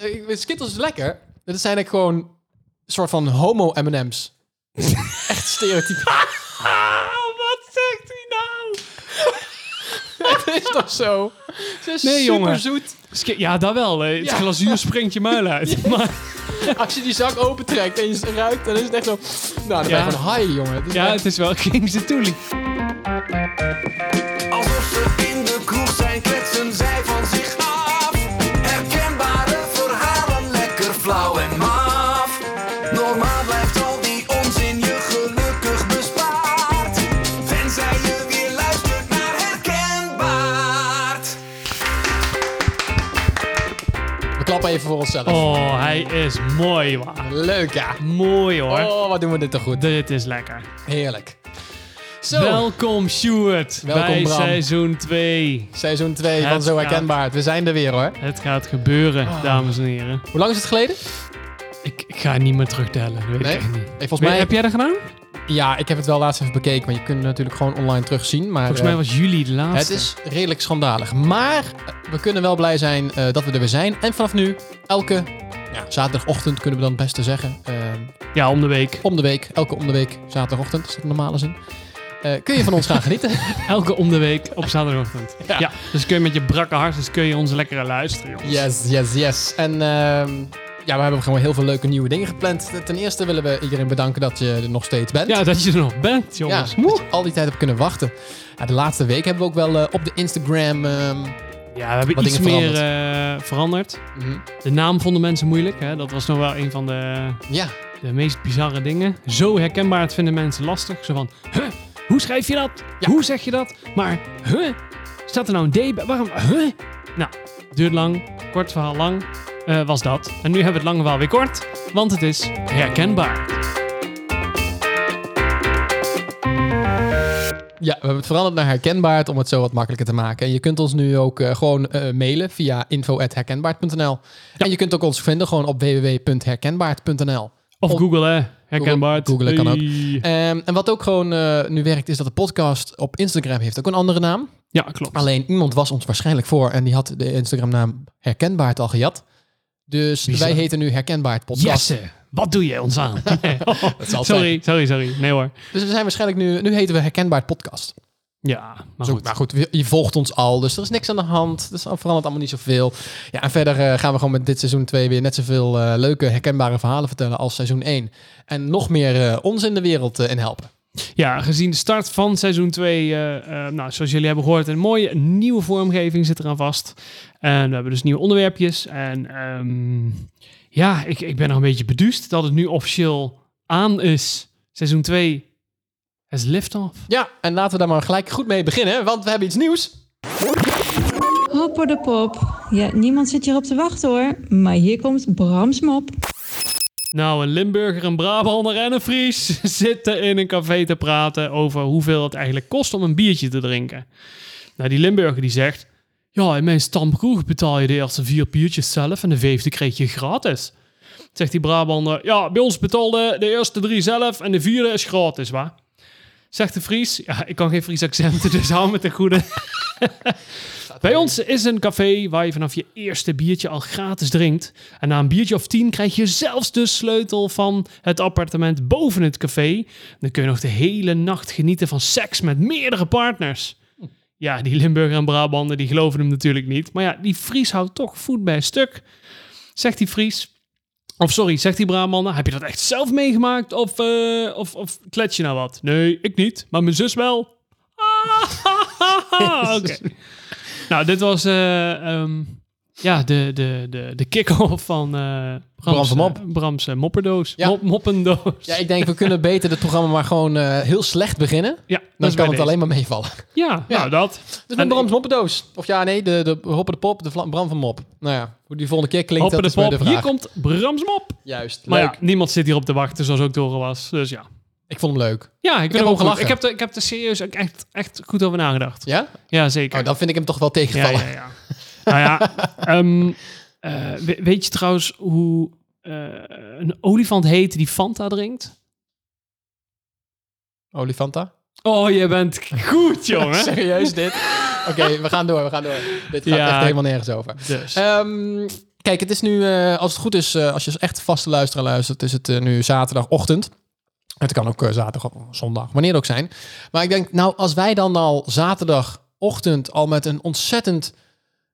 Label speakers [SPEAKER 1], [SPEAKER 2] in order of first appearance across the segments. [SPEAKER 1] Eh, Ik weet, Skittles is lekker. Dat zijn eigenlijk gewoon een soort van homo M&M's. Echt stereotype.
[SPEAKER 2] wat zegt hij nou?
[SPEAKER 1] Het is toch zo? Ze is
[SPEAKER 2] Nee,
[SPEAKER 1] super
[SPEAKER 2] jongen.
[SPEAKER 1] zoet.
[SPEAKER 2] Ske- Ja, dat wel. hè. Het
[SPEAKER 1] Ja.
[SPEAKER 2] glazuur springt je muil uit. Maar
[SPEAKER 1] Als je die zak opentrekt en je ze ruikt, dan is het echt zo... Nou, dan ben
[SPEAKER 2] Ja.
[SPEAKER 1] je gewoon high, jongen. Dus Het is
[SPEAKER 2] ja,
[SPEAKER 1] echt-
[SPEAKER 2] het is wel Kings Tooling.
[SPEAKER 3] Alsof ze in de kroeg zijn, kletsen zij van zich af. Herkenbare verhalen, lekker flauw en maf. Normaal blijft al die onzin je gelukkig bespaard. Tenzij je weer luistert naar herkenbaar.
[SPEAKER 1] We klappen even voor onszelf.
[SPEAKER 2] Oh, hij is mooi, waar.
[SPEAKER 1] Leuk, ja.
[SPEAKER 2] Mooi, hoor.
[SPEAKER 1] Oh, wat doen we dit toch goed.
[SPEAKER 2] Dit is lekker.
[SPEAKER 1] Heerlijk. Zo,
[SPEAKER 2] Welkom, Stuart,
[SPEAKER 1] Welkom,
[SPEAKER 2] bij
[SPEAKER 1] Bram.
[SPEAKER 2] seizoen 2.
[SPEAKER 1] seizoen 2 van
[SPEAKER 2] Het
[SPEAKER 1] Zo
[SPEAKER 2] gaat.
[SPEAKER 1] Herkenbaar. We zijn er weer, hoor.
[SPEAKER 2] Het gaat gebeuren,
[SPEAKER 1] Oh.
[SPEAKER 2] dames en heren.
[SPEAKER 1] Hoe lang is het geleden? Eh,
[SPEAKER 2] Ik, ik ga niet meer terugtellen. dat Weet
[SPEAKER 1] Nee?
[SPEAKER 2] ik echt niet.
[SPEAKER 1] Eh, volgens
[SPEAKER 2] Weet-
[SPEAKER 1] mij...
[SPEAKER 2] Heb jij dat gedaan?
[SPEAKER 1] Ja, ik heb het wel laatst even bekeken, want je kunt het natuurlijk gewoon online terugzien. Maar
[SPEAKER 2] Volgens mij
[SPEAKER 1] eh,
[SPEAKER 2] was juli de laatste.
[SPEAKER 1] het is redelijk schandalig. Maar eh, we kunnen wel blij zijn eh, dat we er weer zijn. En vanaf nu, elke ja, zaterdagochtend kunnen we dan het beste zeggen. eh,
[SPEAKER 2] Ja, om de week.
[SPEAKER 1] om de week, elke om de week, zaterdagochtend, is dat een normale zin. Eh, kun je van ons gaan genieten?
[SPEAKER 2] Elke om de week op zaterdagochtend.
[SPEAKER 1] Ja.
[SPEAKER 2] ja. dus kun je met je brakke hart, dus kun je ons lekker luisteren, jongens.
[SPEAKER 1] Yes, yes, yes. En ehm, ja, we hebben gewoon heel veel leuke nieuwe dingen gepland. Ten eerste willen we iedereen bedanken dat je er nog steeds bent.
[SPEAKER 2] Ja, dat je er nog bent,
[SPEAKER 1] Ja,
[SPEAKER 2] jongens.
[SPEAKER 1] dat
[SPEAKER 2] Woe.
[SPEAKER 1] je al die tijd hebt kunnen wachten. Ja, de laatste week hebben we ook wel eh, op de Instagram... ehm,
[SPEAKER 2] Ja, we hebben
[SPEAKER 1] Wat
[SPEAKER 2] iets
[SPEAKER 1] dingen
[SPEAKER 2] meer eh, veranderd.
[SPEAKER 1] mhm.
[SPEAKER 2] De naam vonden mensen moeilijk. Hè? Dat was nog wel een van de,
[SPEAKER 1] ja,
[SPEAKER 2] de meest bizarre dingen. Zo herkenbaar, het vinden mensen lastig. Zo van, huh, hoe schrijf je dat? Hoe zeg je dat? Maar, huh, staat er nou een D bij? Waarom, huh? Nou, duurt lang. Kort verhaal lang eh, was dat. En nu hebben we het lange verhaal weer kort, want het is herkenbaar.
[SPEAKER 1] Ja, we hebben het veranderd naar herkenbaar om het zo wat makkelijker te maken. En je kunt ons nu ook eh, gewoon eh, mailen via info.herkenbaard.nl. En je kunt ook ons vinden gewoon op www.herkenbaard.nl.
[SPEAKER 2] Of
[SPEAKER 1] Om-
[SPEAKER 2] Google, hè? Herkenbaar.
[SPEAKER 1] Googlen kan ook.
[SPEAKER 2] Hey.
[SPEAKER 1] Ehm, en wat ook gewoon eh, nu werkt, is dat de podcast op Instagram heeft ook een andere naam.
[SPEAKER 2] Ja, klopt.
[SPEAKER 1] Alleen iemand was ons waarschijnlijk voor en die had de Instagram-naam Herkenbaard al gejat. Dus
[SPEAKER 2] Bizar.
[SPEAKER 1] wij heten nu Herkenbaard Podcast.
[SPEAKER 2] Jesse, wat doe je ons aan? Oh,
[SPEAKER 1] zal
[SPEAKER 2] sorry, sorry, sorry. Nee hoor.
[SPEAKER 1] Dus we zijn waarschijnlijk nu, nu heten we Herkenbaard Podcast.
[SPEAKER 2] Ja, maar
[SPEAKER 1] Zo,
[SPEAKER 2] goed.
[SPEAKER 1] Maar goed, je volgt ons al, dus er is niks aan de hand. Dus dan verandert allemaal niet zoveel. Ja, en verder eh, gaan we gewoon met dit seizoen 2 weer net zoveel eh, leuke, herkenbare verhalen vertellen als seizoen 1. En nog meer eh, ons in de wereld eh, in helpen.
[SPEAKER 2] Ja, gezien de start van seizoen 2, nou, zoals jullie hebben gehoord, een mooie nieuwe vormgeving zit eraan vast. En we hebben dus nieuwe onderwerpjes. En ehm, ja, ik, ik ben nog een beetje beduust dat het nu officieel aan is. Seizoen 2 is lift-off.
[SPEAKER 1] Ja, en laten we daar maar gelijk goed mee beginnen, want we hebben iets nieuws.
[SPEAKER 4] Hopper de pop. Ja, niemand zit hierop te wachten hoor. Maar hier komt Brams mop.
[SPEAKER 2] Nou, een Limburger, een Brabander en een Fries zitten in een café te praten over hoeveel het eigenlijk kost om een biertje te drinken. Nou, die Limburger die zegt, ja, in mijn stamkroeg betaal je de eerste vier biertjes zelf en de vijfde kreeg je gratis. Zegt die Brabander, ja, bij ons betaalde de eerste drie zelf en de vierde is gratis, waar? Zegt de Fries, ja, ik kan geen Fries accenten, dus hou me ten goede. Bij ons is een café waar je vanaf je eerste biertje al gratis drinkt. En na een biertje of tien krijg je zelfs de sleutel van het appartement boven het café. Dan kun je nog de hele nacht genieten van seks met meerdere partners. Ja, die Limburger en Brabander die geloven hem natuurlijk niet. Maar ja, die Fries houdt toch voet bij stuk. Zegt die Fries. Of sorry, zegt die Brabander. Heb je dat echt zelf meegemaakt? Of, eh, of, of klets je nou wat? Nee, ik niet. Maar mijn zus wel. Ah, Oké. Nou, dit was eh, ehm, ja, de, de, de, de kick-off van eh Bram's,
[SPEAKER 1] Bram's Mop.
[SPEAKER 2] eh, Bram's eh, mopperdoos.
[SPEAKER 1] Ja.
[SPEAKER 2] Mop- moppendoos.
[SPEAKER 1] Ja, ik denk, we kunnen beter het programma maar gewoon eh, heel slecht beginnen.
[SPEAKER 2] Ja, dat
[SPEAKER 1] Dan
[SPEAKER 2] is
[SPEAKER 1] kan
[SPEAKER 2] bij
[SPEAKER 1] het
[SPEAKER 2] deze.
[SPEAKER 1] alleen maar meevallen.
[SPEAKER 2] Ja,
[SPEAKER 1] Ja.
[SPEAKER 2] nou dat.
[SPEAKER 1] Dus
[SPEAKER 2] En
[SPEAKER 1] met Bram's Moppendoos. Of ja, nee, de, de Hopper de Pop, de vla- Bram van Mop. Nou ja, hoe die volgende keer klinkt,
[SPEAKER 2] Hoppen
[SPEAKER 1] dat
[SPEAKER 2] de
[SPEAKER 1] is weer de
[SPEAKER 2] pop.
[SPEAKER 1] vraag.
[SPEAKER 2] Hier komt Brams mop.
[SPEAKER 1] Juist,
[SPEAKER 2] Maar
[SPEAKER 1] leuk.
[SPEAKER 2] ja, niemand zit hierop te wachten, zoals ook door was. Dus ja.
[SPEAKER 1] Ik vond hem leuk.
[SPEAKER 2] Ja, ik,
[SPEAKER 1] heb
[SPEAKER 2] ben
[SPEAKER 1] ook
[SPEAKER 2] ook gelachen.
[SPEAKER 1] gelachen.
[SPEAKER 2] Ik heb, er, ik heb er serieus ook echt, echt goed over nagedacht. Ja,
[SPEAKER 1] Ja?
[SPEAKER 2] zeker.
[SPEAKER 1] Oh, dan vind ik hem toch wel
[SPEAKER 2] ja,
[SPEAKER 1] tegenvallen.
[SPEAKER 2] ja, ja. nou ja, ehm, eh, we- weet je trouwens hoe eh, een olifant heet die Fanta drinkt?
[SPEAKER 1] Olifanta?
[SPEAKER 2] Oh, je bent goed, jongen.
[SPEAKER 1] Serieus dit? Oké, we gaan door, we gaan door. Dit gaat
[SPEAKER 2] Ja.
[SPEAKER 1] echt helemaal nergens over.
[SPEAKER 2] dus.
[SPEAKER 1] Ehm, Kijk, het is nu, eh, als het goed is, eh, als je als echt vaste luisteraar luistert, is het eh, nu zaterdagochtend. Het kan ook eh, zaterdag of zondag, wanneer het ook zijn. Maar ik denk, nou, als wij dan al zaterdagochtend al met een ontzettend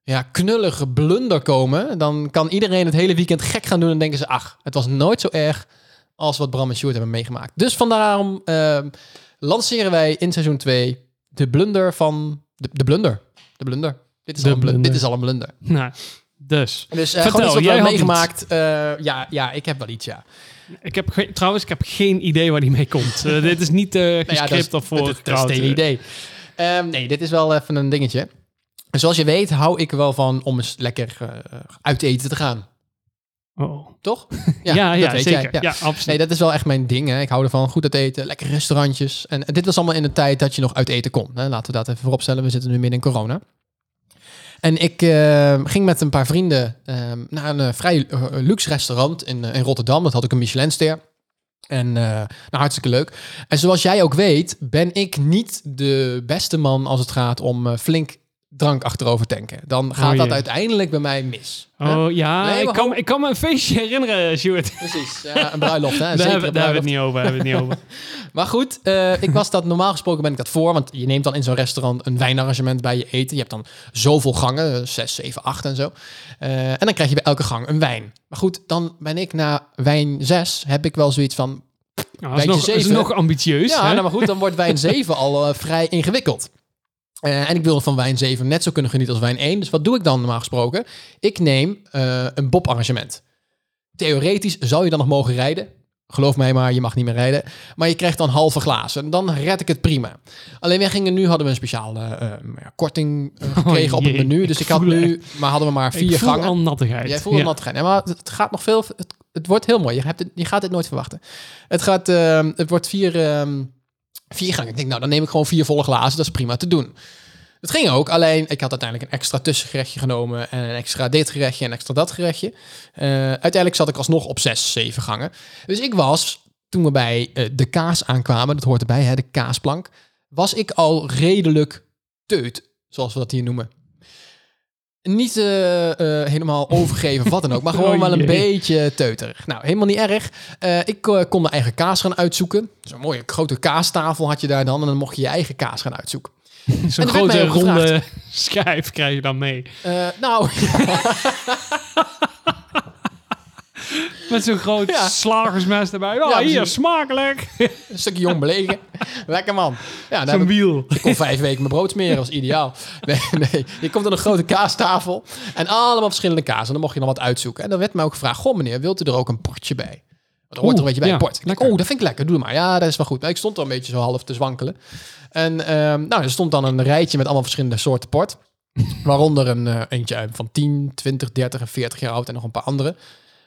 [SPEAKER 1] ja, knullige blunder komen, dan kan iedereen het hele weekend gek gaan doen en denken ze, ach, het was nooit zo erg als wat Bram en Sjoerd hebben meegemaakt. Dus vandaarom eh, lanceren wij in seizoen 2 de blunder van... De, de blunder. De blunder. Dit is,
[SPEAKER 2] De
[SPEAKER 1] al een blunder.
[SPEAKER 2] blunder.
[SPEAKER 1] Dit is al een blunder.
[SPEAKER 2] Nou, dus.
[SPEAKER 1] Dus eh,
[SPEAKER 2] Vertel,
[SPEAKER 1] gewoon iets wat we
[SPEAKER 2] jij
[SPEAKER 1] hebben
[SPEAKER 2] had
[SPEAKER 1] meegemaakt. Eh, ja, ja, ik heb wel iets, ja.
[SPEAKER 2] Ik heb geen- trouwens, ik heb geen idee waar die mee komt. Eh, dit is niet eh
[SPEAKER 1] Nou ja, dat is-
[SPEAKER 2] gescript of voor
[SPEAKER 1] dat is- Dat is het hele
[SPEAKER 2] idee.
[SPEAKER 1] idee. Ehm, nee, dit is wel even een dingetje. En zoals je weet hou ik er wel van om eens lekker eh, uit eten te gaan.
[SPEAKER 2] Oh.
[SPEAKER 1] Toch?
[SPEAKER 2] Ja, ja, zeker. Ja,
[SPEAKER 1] Nee,
[SPEAKER 2] absoluut.
[SPEAKER 1] dat is wel echt mijn ding. Hè. Ik hou ervan. Goed uit eten, lekker restaurantjes. En dit was allemaal in de tijd dat je nog uit eten kon. Hè. Laten we dat even vooropstellen. We zitten nu midden in corona. En ik eh, ging met een paar vrienden ehm, naar een eh, vrij eh, luxe restaurant in, eh, in Rotterdam. Dat had ik een Michelinster. En eh, nou, hartstikke leuk. En zoals jij ook weet, ben ik niet de beste man als het gaat om eh, flink drank achterover tanken. Dan gaat
[SPEAKER 2] Oh
[SPEAKER 1] dat
[SPEAKER 2] jee.
[SPEAKER 1] uiteindelijk bij mij mis. hè.
[SPEAKER 2] Oh ja,
[SPEAKER 1] Nee,
[SPEAKER 2] ik,
[SPEAKER 1] maar
[SPEAKER 2] kan,
[SPEAKER 1] hou-
[SPEAKER 2] ik kan me een feestje herinneren, Stuart.
[SPEAKER 1] Precies. Ja, een bruiloft, hè?
[SPEAKER 2] daar
[SPEAKER 1] Eh, Zeker
[SPEAKER 2] hebben
[SPEAKER 1] een
[SPEAKER 2] daar
[SPEAKER 1] bruiloft.
[SPEAKER 2] hebben we het niet over. Hebben we het niet over.
[SPEAKER 1] Maar goed, eh, ik was dat normaal gesproken ben ik dat voor. Want je neemt dan in zo'n restaurant een wijnarrangement bij je eten. Je hebt dan zoveel gangen, eh, zes, zeven, acht en zo. Eh, en dan krijg je bij elke gang een wijn. Maar goed, dan ben ik na wijn zes, heb ik wel zoiets van...
[SPEAKER 2] Nou, dat is
[SPEAKER 1] Wijntje
[SPEAKER 2] nog, dat is
[SPEAKER 1] zeven.
[SPEAKER 2] nog ambitieus.
[SPEAKER 1] ja,
[SPEAKER 2] hè?
[SPEAKER 1] nou maar goed, dan wordt wijn 7 al eh, vrij ingewikkeld. Eh, en ik wil van wijn 7 net zo kunnen genieten als wijn 1. Dus wat doe ik dan normaal gesproken? Ik neem eh, een bob-arrangement. Theoretisch zou je dan nog mogen rijden. Geloof mij maar, je mag niet meer rijden. Maar je krijgt dan halve glazen. En dan red ik het prima. Alleen wij gingen nu, hadden we een speciale eh, ja, korting eh, gekregen op het
[SPEAKER 2] Oh, jee,
[SPEAKER 1] menu.
[SPEAKER 2] ik
[SPEAKER 1] Dus ik, had
[SPEAKER 2] voel
[SPEAKER 1] nu, maar hadden we maar
[SPEAKER 2] ik
[SPEAKER 1] vier
[SPEAKER 2] voel
[SPEAKER 1] gangen.
[SPEAKER 2] al nattigheid.
[SPEAKER 1] Jij voelde
[SPEAKER 2] Ja.
[SPEAKER 1] nat gaan. Nee, maar het gaat nog veel. Het, het wordt heel mooi. Je, hebt het, je gaat dit nooit verwachten. Het, gaat, ehm, het wordt vier, ehm, vier gangen. Ik denk, nou, dan neem ik gewoon vier volle glazen. Dat is prima te doen. Het ging ook, alleen ik had uiteindelijk een extra tussengerechtje genomen. En een extra dit gerechtje en extra dat gerechtje. Eh, uiteindelijk zat ik alsnog op zes, zeven gangen. Dus ik was, toen we bij eh, de kaas aankwamen, dat hoort erbij, hè, de kaasplank. Was ik al redelijk teut, zoals we dat hier noemen. Niet eh, eh, helemaal overgeven, wat dan ook, maar gewoon
[SPEAKER 2] Oh
[SPEAKER 1] wel een
[SPEAKER 2] jee.
[SPEAKER 1] beetje teuterig. Nou, helemaal niet erg. Eh, ik eh, kon mijn eigen kaas gaan uitzoeken. Zo'n mooie grote kaastafel had je daar dan. En dan mocht je je eigen kaas gaan uitzoeken.
[SPEAKER 2] Zo'n
[SPEAKER 1] En er werd
[SPEAKER 2] grote
[SPEAKER 1] mij ook gevraagd.
[SPEAKER 2] ronde schijf krijg je dan mee.
[SPEAKER 1] Eh, nou,
[SPEAKER 2] Met zo'n groot
[SPEAKER 1] Ja.
[SPEAKER 2] slagersmes erbij. Ja,
[SPEAKER 1] Ja,
[SPEAKER 2] hier,
[SPEAKER 1] precies.
[SPEAKER 2] smakelijk.
[SPEAKER 1] een stukje jong belegen. Lekker man. Ja, daar heb
[SPEAKER 2] Zo'n
[SPEAKER 1] ik
[SPEAKER 2] wiel.
[SPEAKER 1] Ik kon vijf weken mijn brood smeren, was ideaal. Nee, nee. Je komt aan een grote kaastafel en allemaal verschillende kaas. En dan mocht je dan wat uitzoeken. En dan werd mij ook gevraagd, goh meneer, wilt u er ook een portje bij? Want er hoort
[SPEAKER 2] Oeh,
[SPEAKER 1] er een beetje bij,
[SPEAKER 2] ja,
[SPEAKER 1] een port. Ik denk,
[SPEAKER 2] lekker.
[SPEAKER 1] oh, dat vind ik lekker, doe maar. Ja, dat is wel goed. Nou, ik stond al een beetje zo half te zwankelen. En ehm, nou, er stond dan een rijtje met allemaal verschillende soorten port. Waaronder een eh, eentje uit van 10, 20, 30 en 40 jaar oud en nog een paar andere.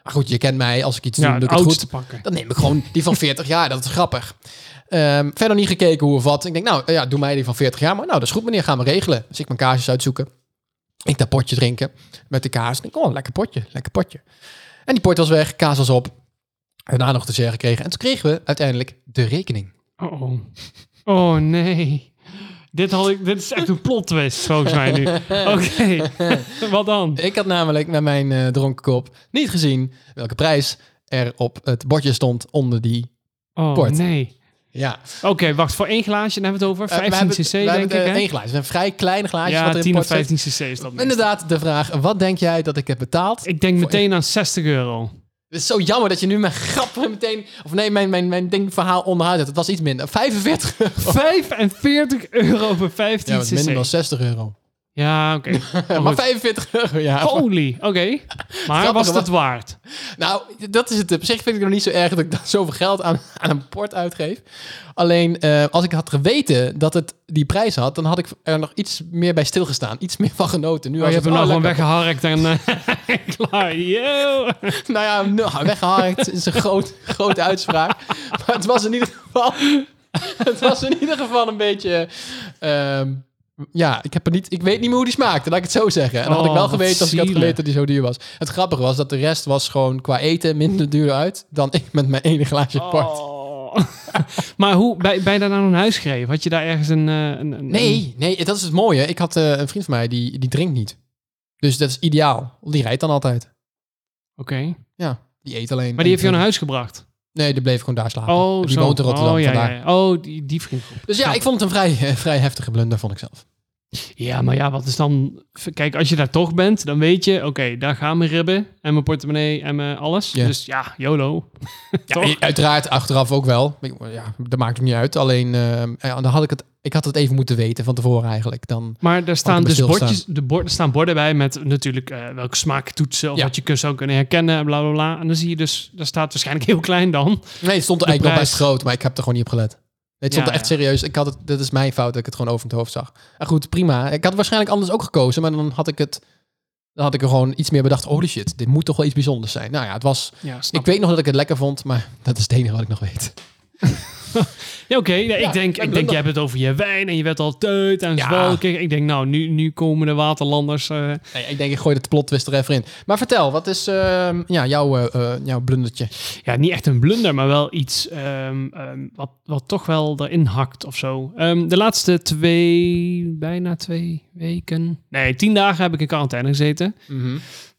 [SPEAKER 1] Maar goed, je kent mij. Als ik iets doe,
[SPEAKER 2] Ja,
[SPEAKER 1] doe
[SPEAKER 2] het
[SPEAKER 1] ik het goed.
[SPEAKER 2] oudste pakken.
[SPEAKER 1] Dan neem ik gewoon die van 40 jaar. Dat is grappig. Ehm, verder niet gekeken hoe of wat. Ik denk, nou eh, ja, doe mij die van 40 jaar. Maar nou, dat is goed meneer, gaan we regelen. Dus ik mijn kaasjes uitzoeken. Ik dat potje drinken met de kaas. Ik denk, oh, lekker potje, lekker potje. En die port was weg, kaas was op. Daarna nog te zeggen gekregen. En toen kregen we uiteindelijk de rekening.
[SPEAKER 2] Oh, oh. oh nee. Dit, had ik, dit is echt een plot twist, volgens mij nu. Oké, wat dan?
[SPEAKER 1] Ik had namelijk met mijn eh, dronken kop niet gezien welke prijs er op het bordje stond onder die...
[SPEAKER 2] Oh,
[SPEAKER 1] Port.
[SPEAKER 2] nee.
[SPEAKER 1] Ja,
[SPEAKER 2] Oké, wacht. Voor één glaasje, dan hebben we het
[SPEAKER 1] Eh,
[SPEAKER 2] over.
[SPEAKER 1] we hebben
[SPEAKER 2] 15
[SPEAKER 1] het-
[SPEAKER 2] cc,
[SPEAKER 1] we
[SPEAKER 2] denk
[SPEAKER 1] hebben
[SPEAKER 2] ik,
[SPEAKER 1] het, eh,
[SPEAKER 2] hè?
[SPEAKER 1] één glaasje. Een vrij klein glaasje wat
[SPEAKER 2] Ja,
[SPEAKER 1] er in
[SPEAKER 2] 10
[SPEAKER 1] port
[SPEAKER 2] of
[SPEAKER 1] zit.
[SPEAKER 2] 15 cc is dat. meestal.
[SPEAKER 1] Inderdaad, de vraag: wat denk jij dat ik heb betaald?
[SPEAKER 2] Ik denk meteen aan 60 euro.
[SPEAKER 1] Het is zo jammer dat je nu mijn grap meteen. Of nee, mijn, mijn, mijn ding verhaal onderuit hebt. Het was iets minder. 45 euro.
[SPEAKER 2] 45 euro voor 15
[SPEAKER 1] Ja, wat minder dan
[SPEAKER 2] cc.
[SPEAKER 1] 60 euro.
[SPEAKER 2] Ja, oké. Maar
[SPEAKER 1] maar
[SPEAKER 2] goed.
[SPEAKER 1] 45 euro, ja.
[SPEAKER 2] Holy, oké. Maar was
[SPEAKER 1] Grappig,
[SPEAKER 2] het het waard?
[SPEAKER 1] Nou, dat is het. Op zich vind ik het nog niet zo erg dat ik dan zoveel geld aan, aan een port uitgeef. Alleen, eh, als ik had geweten dat het die prijs had, dan had ik er nog iets meer bij stilgestaan. Iets meer van genoten. Nu
[SPEAKER 2] Oh, je
[SPEAKER 1] als
[SPEAKER 2] hebt
[SPEAKER 1] het,
[SPEAKER 2] hem
[SPEAKER 1] oh,
[SPEAKER 2] nou gewoon
[SPEAKER 1] lekker.
[SPEAKER 2] weggeharkt en eh, klaar. Yo.
[SPEAKER 1] Nou ja, nou, weggehaakt is een groot, grote uitspraak. Maar het was in ieder geval... Het was in ieder geval een beetje... ehm, ja, ik, heb er niet, ik weet niet meer hoe die smaakte, laat ik het zo zeggen. En dan had ik
[SPEAKER 2] Oh,
[SPEAKER 1] wel
[SPEAKER 2] wat
[SPEAKER 1] geweten als ik had
[SPEAKER 2] zielig.
[SPEAKER 1] geweten dat die zo duur was. Het grappige was dat de rest was gewoon qua eten minder duur uit... dan ik met mijn ene glaasje port.
[SPEAKER 2] Oh. maar hoe, ben, ben je daar nou naar huis gereden? Had je daar ergens een... eh, een, een-
[SPEAKER 1] Nee, nee, dat is het mooie. Ik had eh, een vriend van mij, die, die drinkt niet. Dus dat is ideaal. Die rijdt dan altijd. Ja, die eet alleen.
[SPEAKER 2] Maar die heeft jou naar huis gebracht.
[SPEAKER 1] Nee, die bleef gewoon daar slapen.
[SPEAKER 2] Oh,
[SPEAKER 1] Ah, die
[SPEAKER 2] zo.
[SPEAKER 1] woont in Rotterdam
[SPEAKER 2] oh, ja,
[SPEAKER 1] vandaar.
[SPEAKER 2] ja, ja. Oh, die, die vriendgroep.
[SPEAKER 1] Dus ja, ik vond het een vrij, eh, vrij heftige blunder, vond ik zelf.
[SPEAKER 2] Ja, maar ja, wat is dan... Kijk, als je daar toch bent, dan weet je... Oké, daar gaan mijn ribben en mijn portemonnee en mijn alles.
[SPEAKER 1] Ja.
[SPEAKER 2] Dus ja, YOLO. toch?
[SPEAKER 1] Ja, uiteraard, achteraf ook wel. Ik- Ja, dat maakt ook niet uit. Alleen, eh, ja, dan had ik het, ik had het even moeten weten van tevoren eigenlijk. Dan,
[SPEAKER 2] Maar daar staan
[SPEAKER 1] erbij
[SPEAKER 2] dus
[SPEAKER 1] stilstaan.
[SPEAKER 2] bordjes, de bord, er staan borden bij met natuurlijk eh, welke smaaktoetsen of
[SPEAKER 1] Ja.
[SPEAKER 2] wat je kun- zou kunnen herkennen en bla bla bla. En dan zie je dus, daar staat waarschijnlijk heel klein dan.
[SPEAKER 1] nee, het stond er
[SPEAKER 2] De
[SPEAKER 1] eigenlijk nog
[SPEAKER 2] prijs.
[SPEAKER 1] best groot, maar ik heb er gewoon niet op gelet. Nee, het stond er
[SPEAKER 2] Ja,
[SPEAKER 1] echt
[SPEAKER 2] ja.
[SPEAKER 1] serieus. Ik had het, dit is mijn fout dat ik het gewoon over het hoofd zag. En goed, prima. Ik had waarschijnlijk anders ook gekozen, maar dan had ik het... Dan had ik er gewoon iets meer bedacht. Holy shit, dit moet toch wel iets bijzonders zijn. Nou ja, het was...
[SPEAKER 2] Ja, snap
[SPEAKER 1] Ik weet nog dat ik het lekker vond, maar dat is het enige wat ik nog weet.
[SPEAKER 2] Ja, oké. Ja,
[SPEAKER 1] Ja,
[SPEAKER 2] ik denk,
[SPEAKER 1] ja,
[SPEAKER 2] ik denk
[SPEAKER 1] dan-
[SPEAKER 2] je hebt het over je wijn en je werd al teut en
[SPEAKER 1] Ja.
[SPEAKER 2] zwalkig. Ik denk, nou, nu, nu komen de waterlanders. eh,
[SPEAKER 1] Nee, ik denk, ik gooi het plot twist er even in. Maar vertel, wat is ehm, ja, jouw, eh, eh, jouw blundertje?
[SPEAKER 2] ja, niet echt een blunder, maar wel iets ehm, ehm, wat, wat toch wel erin hakt of zo. Ehm, de laatste twee, bijna twee weken. Nee, tien dagen heb ik in quarantaine gezeten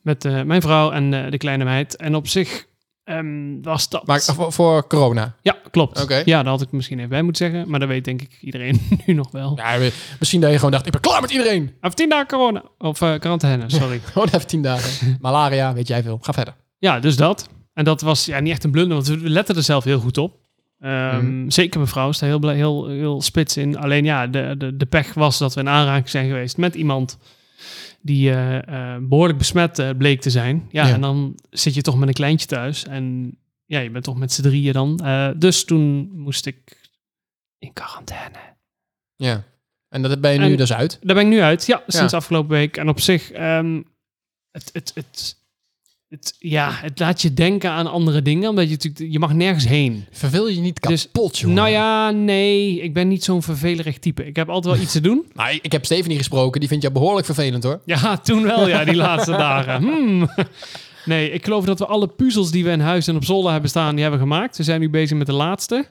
[SPEAKER 2] met eh, mijn vrouw en eh, de kleine meid. En op zich ehm, was dat.
[SPEAKER 1] Maar voor, voor corona.
[SPEAKER 2] Ja, klopt.
[SPEAKER 1] Oké.
[SPEAKER 2] Ja, dat had ik misschien even bij moeten zeggen. Maar dat weet denk ik iedereen nu nog wel.
[SPEAKER 1] Ja, we- misschien dat je gewoon dacht, ik ben klaar met iedereen.
[SPEAKER 2] Of tien dagen corona. Of eh, quarantaine, sorry.
[SPEAKER 1] Gewoon even tien dagen. Malaria, weet jij veel. Ga verder.
[SPEAKER 2] Ja, dus dat. En dat was ja, niet echt een blunder, want we letten er zelf heel goed op. Ehm, Zeker mijn vrouw is daar heel, blij- heel, heel spits in. Alleen ja, de, de, de pech was dat we in aanraking zijn geweest met iemand die eh, eh, behoorlijk besmet eh, bleek te zijn. Ja,
[SPEAKER 1] Ja.
[SPEAKER 2] en dan zit je toch met een kleintje thuis. En ja, je bent toch met z'n drieën dan. Eh, dus toen moest ik in quarantaine.
[SPEAKER 1] Ja. En dat ben je nu
[SPEAKER 2] En-
[SPEAKER 1] dus uit.
[SPEAKER 2] Daar ben ik nu uit. Ja, sinds
[SPEAKER 1] Ja.
[SPEAKER 2] afgelopen week. En op zich, ehm, het, het, het, het, ja, het laat je denken aan andere dingen. Omdat je natuurlijk, je mag nergens heen.
[SPEAKER 1] Verveel je niet
[SPEAKER 2] Dus-
[SPEAKER 1] kapot, jongen.
[SPEAKER 2] Nou ja, nee, ik ben niet zo'n vervelerig type. Ik heb altijd wel iets te doen.
[SPEAKER 1] Maar ik, ik heb Stephanie gesproken. Die vindt jou behoorlijk vervelend, hoor.
[SPEAKER 2] Ja, toen wel, ja, die laatste dagen. Hmm. Nee, ik geloof dat we alle puzzels die we in huis en op zolder hebben staan, die hebben gemaakt. We zijn nu bezig met de laatste.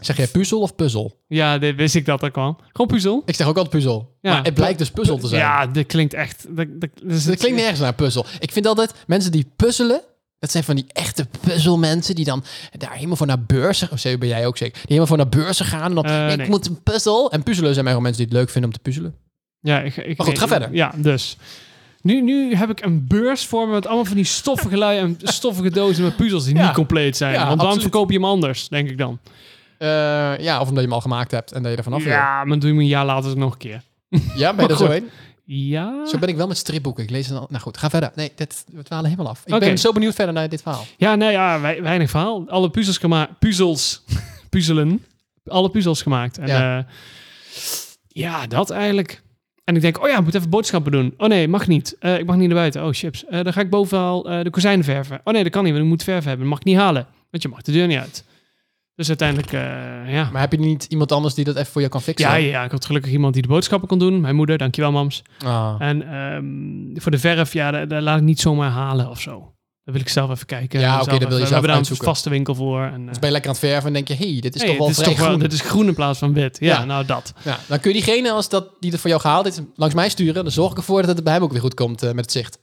[SPEAKER 1] Zeg jij puzzel of puzzel?
[SPEAKER 2] Ja, dit wist ik dat er kwam. Gewoon puzzel.
[SPEAKER 1] Ik zeg ook altijd puzzel.
[SPEAKER 2] Ja.
[SPEAKER 1] Maar het blijkt dus puzzel te zijn.
[SPEAKER 2] Ja, dit klinkt echt. Dat, dat, dus
[SPEAKER 1] Dat klinkt nergens naar puzzel. Ik vind altijd, mensen die puzzelen... Dat zijn van die echte puzzelmensen die dan daar helemaal voor naar beurzen... Of zo ben jij ook zeker. Die helemaal voor naar beurzen gaan en dan...
[SPEAKER 2] Eh,
[SPEAKER 1] ik
[SPEAKER 2] nee.
[SPEAKER 1] moet een puzzel. En puzzelen zijn gewoon mensen die het leuk vinden om te puzzelen.
[SPEAKER 2] Ja, ik, ik,
[SPEAKER 1] Maar goed, ga
[SPEAKER 2] nee,
[SPEAKER 1] verder.
[SPEAKER 2] Ja, dus. Nu, nu heb ik een beurs voor me met allemaal van die stoffige lui en stoffige dozen met puzzels die
[SPEAKER 1] Ja.
[SPEAKER 2] niet compleet zijn.
[SPEAKER 1] Ja,
[SPEAKER 2] Want waarom
[SPEAKER 1] absoluut.
[SPEAKER 2] verkoop je hem anders, denk ik dan.
[SPEAKER 1] Eh, ja, of omdat je hem al gemaakt hebt en dat je er vanaf wil.
[SPEAKER 2] Ja, maar doe je hem een jaar later nog een keer.
[SPEAKER 1] Ja, ben je er
[SPEAKER 2] goed.
[SPEAKER 1] zo heen?
[SPEAKER 2] Ja.
[SPEAKER 1] Zo ben ik wel met stripboeken. Ik lees dan... Nou goed, ga verder. Nee, dit, we dwalen helemaal af. Ik
[SPEAKER 2] Oké.
[SPEAKER 1] ben zo benieuwd verder naar dit verhaal.
[SPEAKER 2] Ja, nee, ja, wei- weinig verhaal. Alle puzzels gemaakt. Puzzels. Puzzelen. Alle puzzels gemaakt. En,
[SPEAKER 1] Ja.
[SPEAKER 2] ja. ja, dat eigenlijk. En ik denk, oh ja, ik moet even boodschappen doen. Oh nee, mag niet. Eh, ik mag niet naar buiten. Oh, chips. Eh, dan ga ik bovenal eh, de kozijnen verven. Oh nee, dat kan niet, want ik moet verven hebben. Dat mag ik niet halen. Want je mag de deur niet uit. Dus uiteindelijk, eh, ja.
[SPEAKER 1] Maar heb je niet iemand anders die dat even voor je kan fixen?
[SPEAKER 2] Ja, ja, ja, ik had gelukkig iemand die de boodschappen kon doen. Mijn moeder, dankjewel mams.
[SPEAKER 1] Ah.
[SPEAKER 2] En ehm, voor de verf, ja, daar, daar laat ik niet zomaar halen of zo. Dat wil ik zelf even kijken.
[SPEAKER 1] Ja,
[SPEAKER 2] Zelf
[SPEAKER 1] oké, dat wil je
[SPEAKER 2] even-
[SPEAKER 1] zelf
[SPEAKER 2] We hebben daar een
[SPEAKER 1] uitzoeken.
[SPEAKER 2] vaste winkel voor. En, eh,
[SPEAKER 1] Dus ben je lekker aan het verven en denk je... Hé, hey, dit is
[SPEAKER 2] hey,
[SPEAKER 1] toch wel
[SPEAKER 2] dit, is
[SPEAKER 1] vrij
[SPEAKER 2] toch wel,
[SPEAKER 1] groen.
[SPEAKER 2] dit is groen in plaats van wit. Ja,
[SPEAKER 1] Ja.
[SPEAKER 2] nou dat.
[SPEAKER 1] Ja, dan kun je diegene als dat, die het voor jou gehaald heeft langs mij sturen. Dan zorg ik ervoor dat het bij hem ook weer goed komt eh, met het zicht.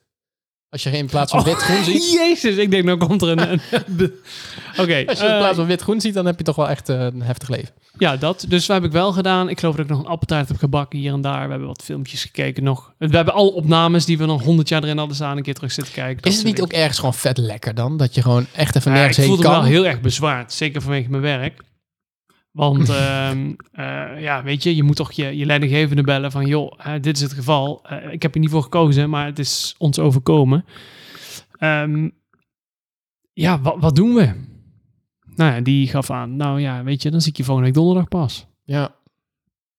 [SPEAKER 1] Als je in
[SPEAKER 2] Oh.
[SPEAKER 1] plaats van wit groen ziet...
[SPEAKER 2] Jezus, ik denk, nou komt er een... een- Oké,
[SPEAKER 1] Als je in
[SPEAKER 2] eh,
[SPEAKER 1] plaats van wit groen ziet, dan heb je toch wel echt eh, een heftig leven.
[SPEAKER 2] ja, dat. Dus dat heb ik wel gedaan. Ik geloof dat ik nog een appeltaart heb gebakken hier en daar. We hebben wat filmpjes gekeken nog. We hebben alle opnames die we nog honderd jaar erin hadden staan... een keer terug zitten kijken. Dat
[SPEAKER 1] Is het
[SPEAKER 2] soort
[SPEAKER 1] niet ook ergens gewoon vet lekker dan? Dat je gewoon echt even
[SPEAKER 2] Nou ja,
[SPEAKER 1] nergens
[SPEAKER 2] ik
[SPEAKER 1] heen
[SPEAKER 2] voelde
[SPEAKER 1] kan?
[SPEAKER 2] me wel heel erg bezwaard, zeker vanwege mijn werk. Want ehm, eh, ja, weet je, je moet toch je, je leidinggevende bellen van joh, hè, dit is het geval. Eh, ik heb hier niet voor gekozen, maar het is ons overkomen. Ehm, ja, wat, wat doen we? Nou ja, die gaf aan, nou ja, weet je, dan zie ik je volgende week donderdag pas.
[SPEAKER 1] Ja.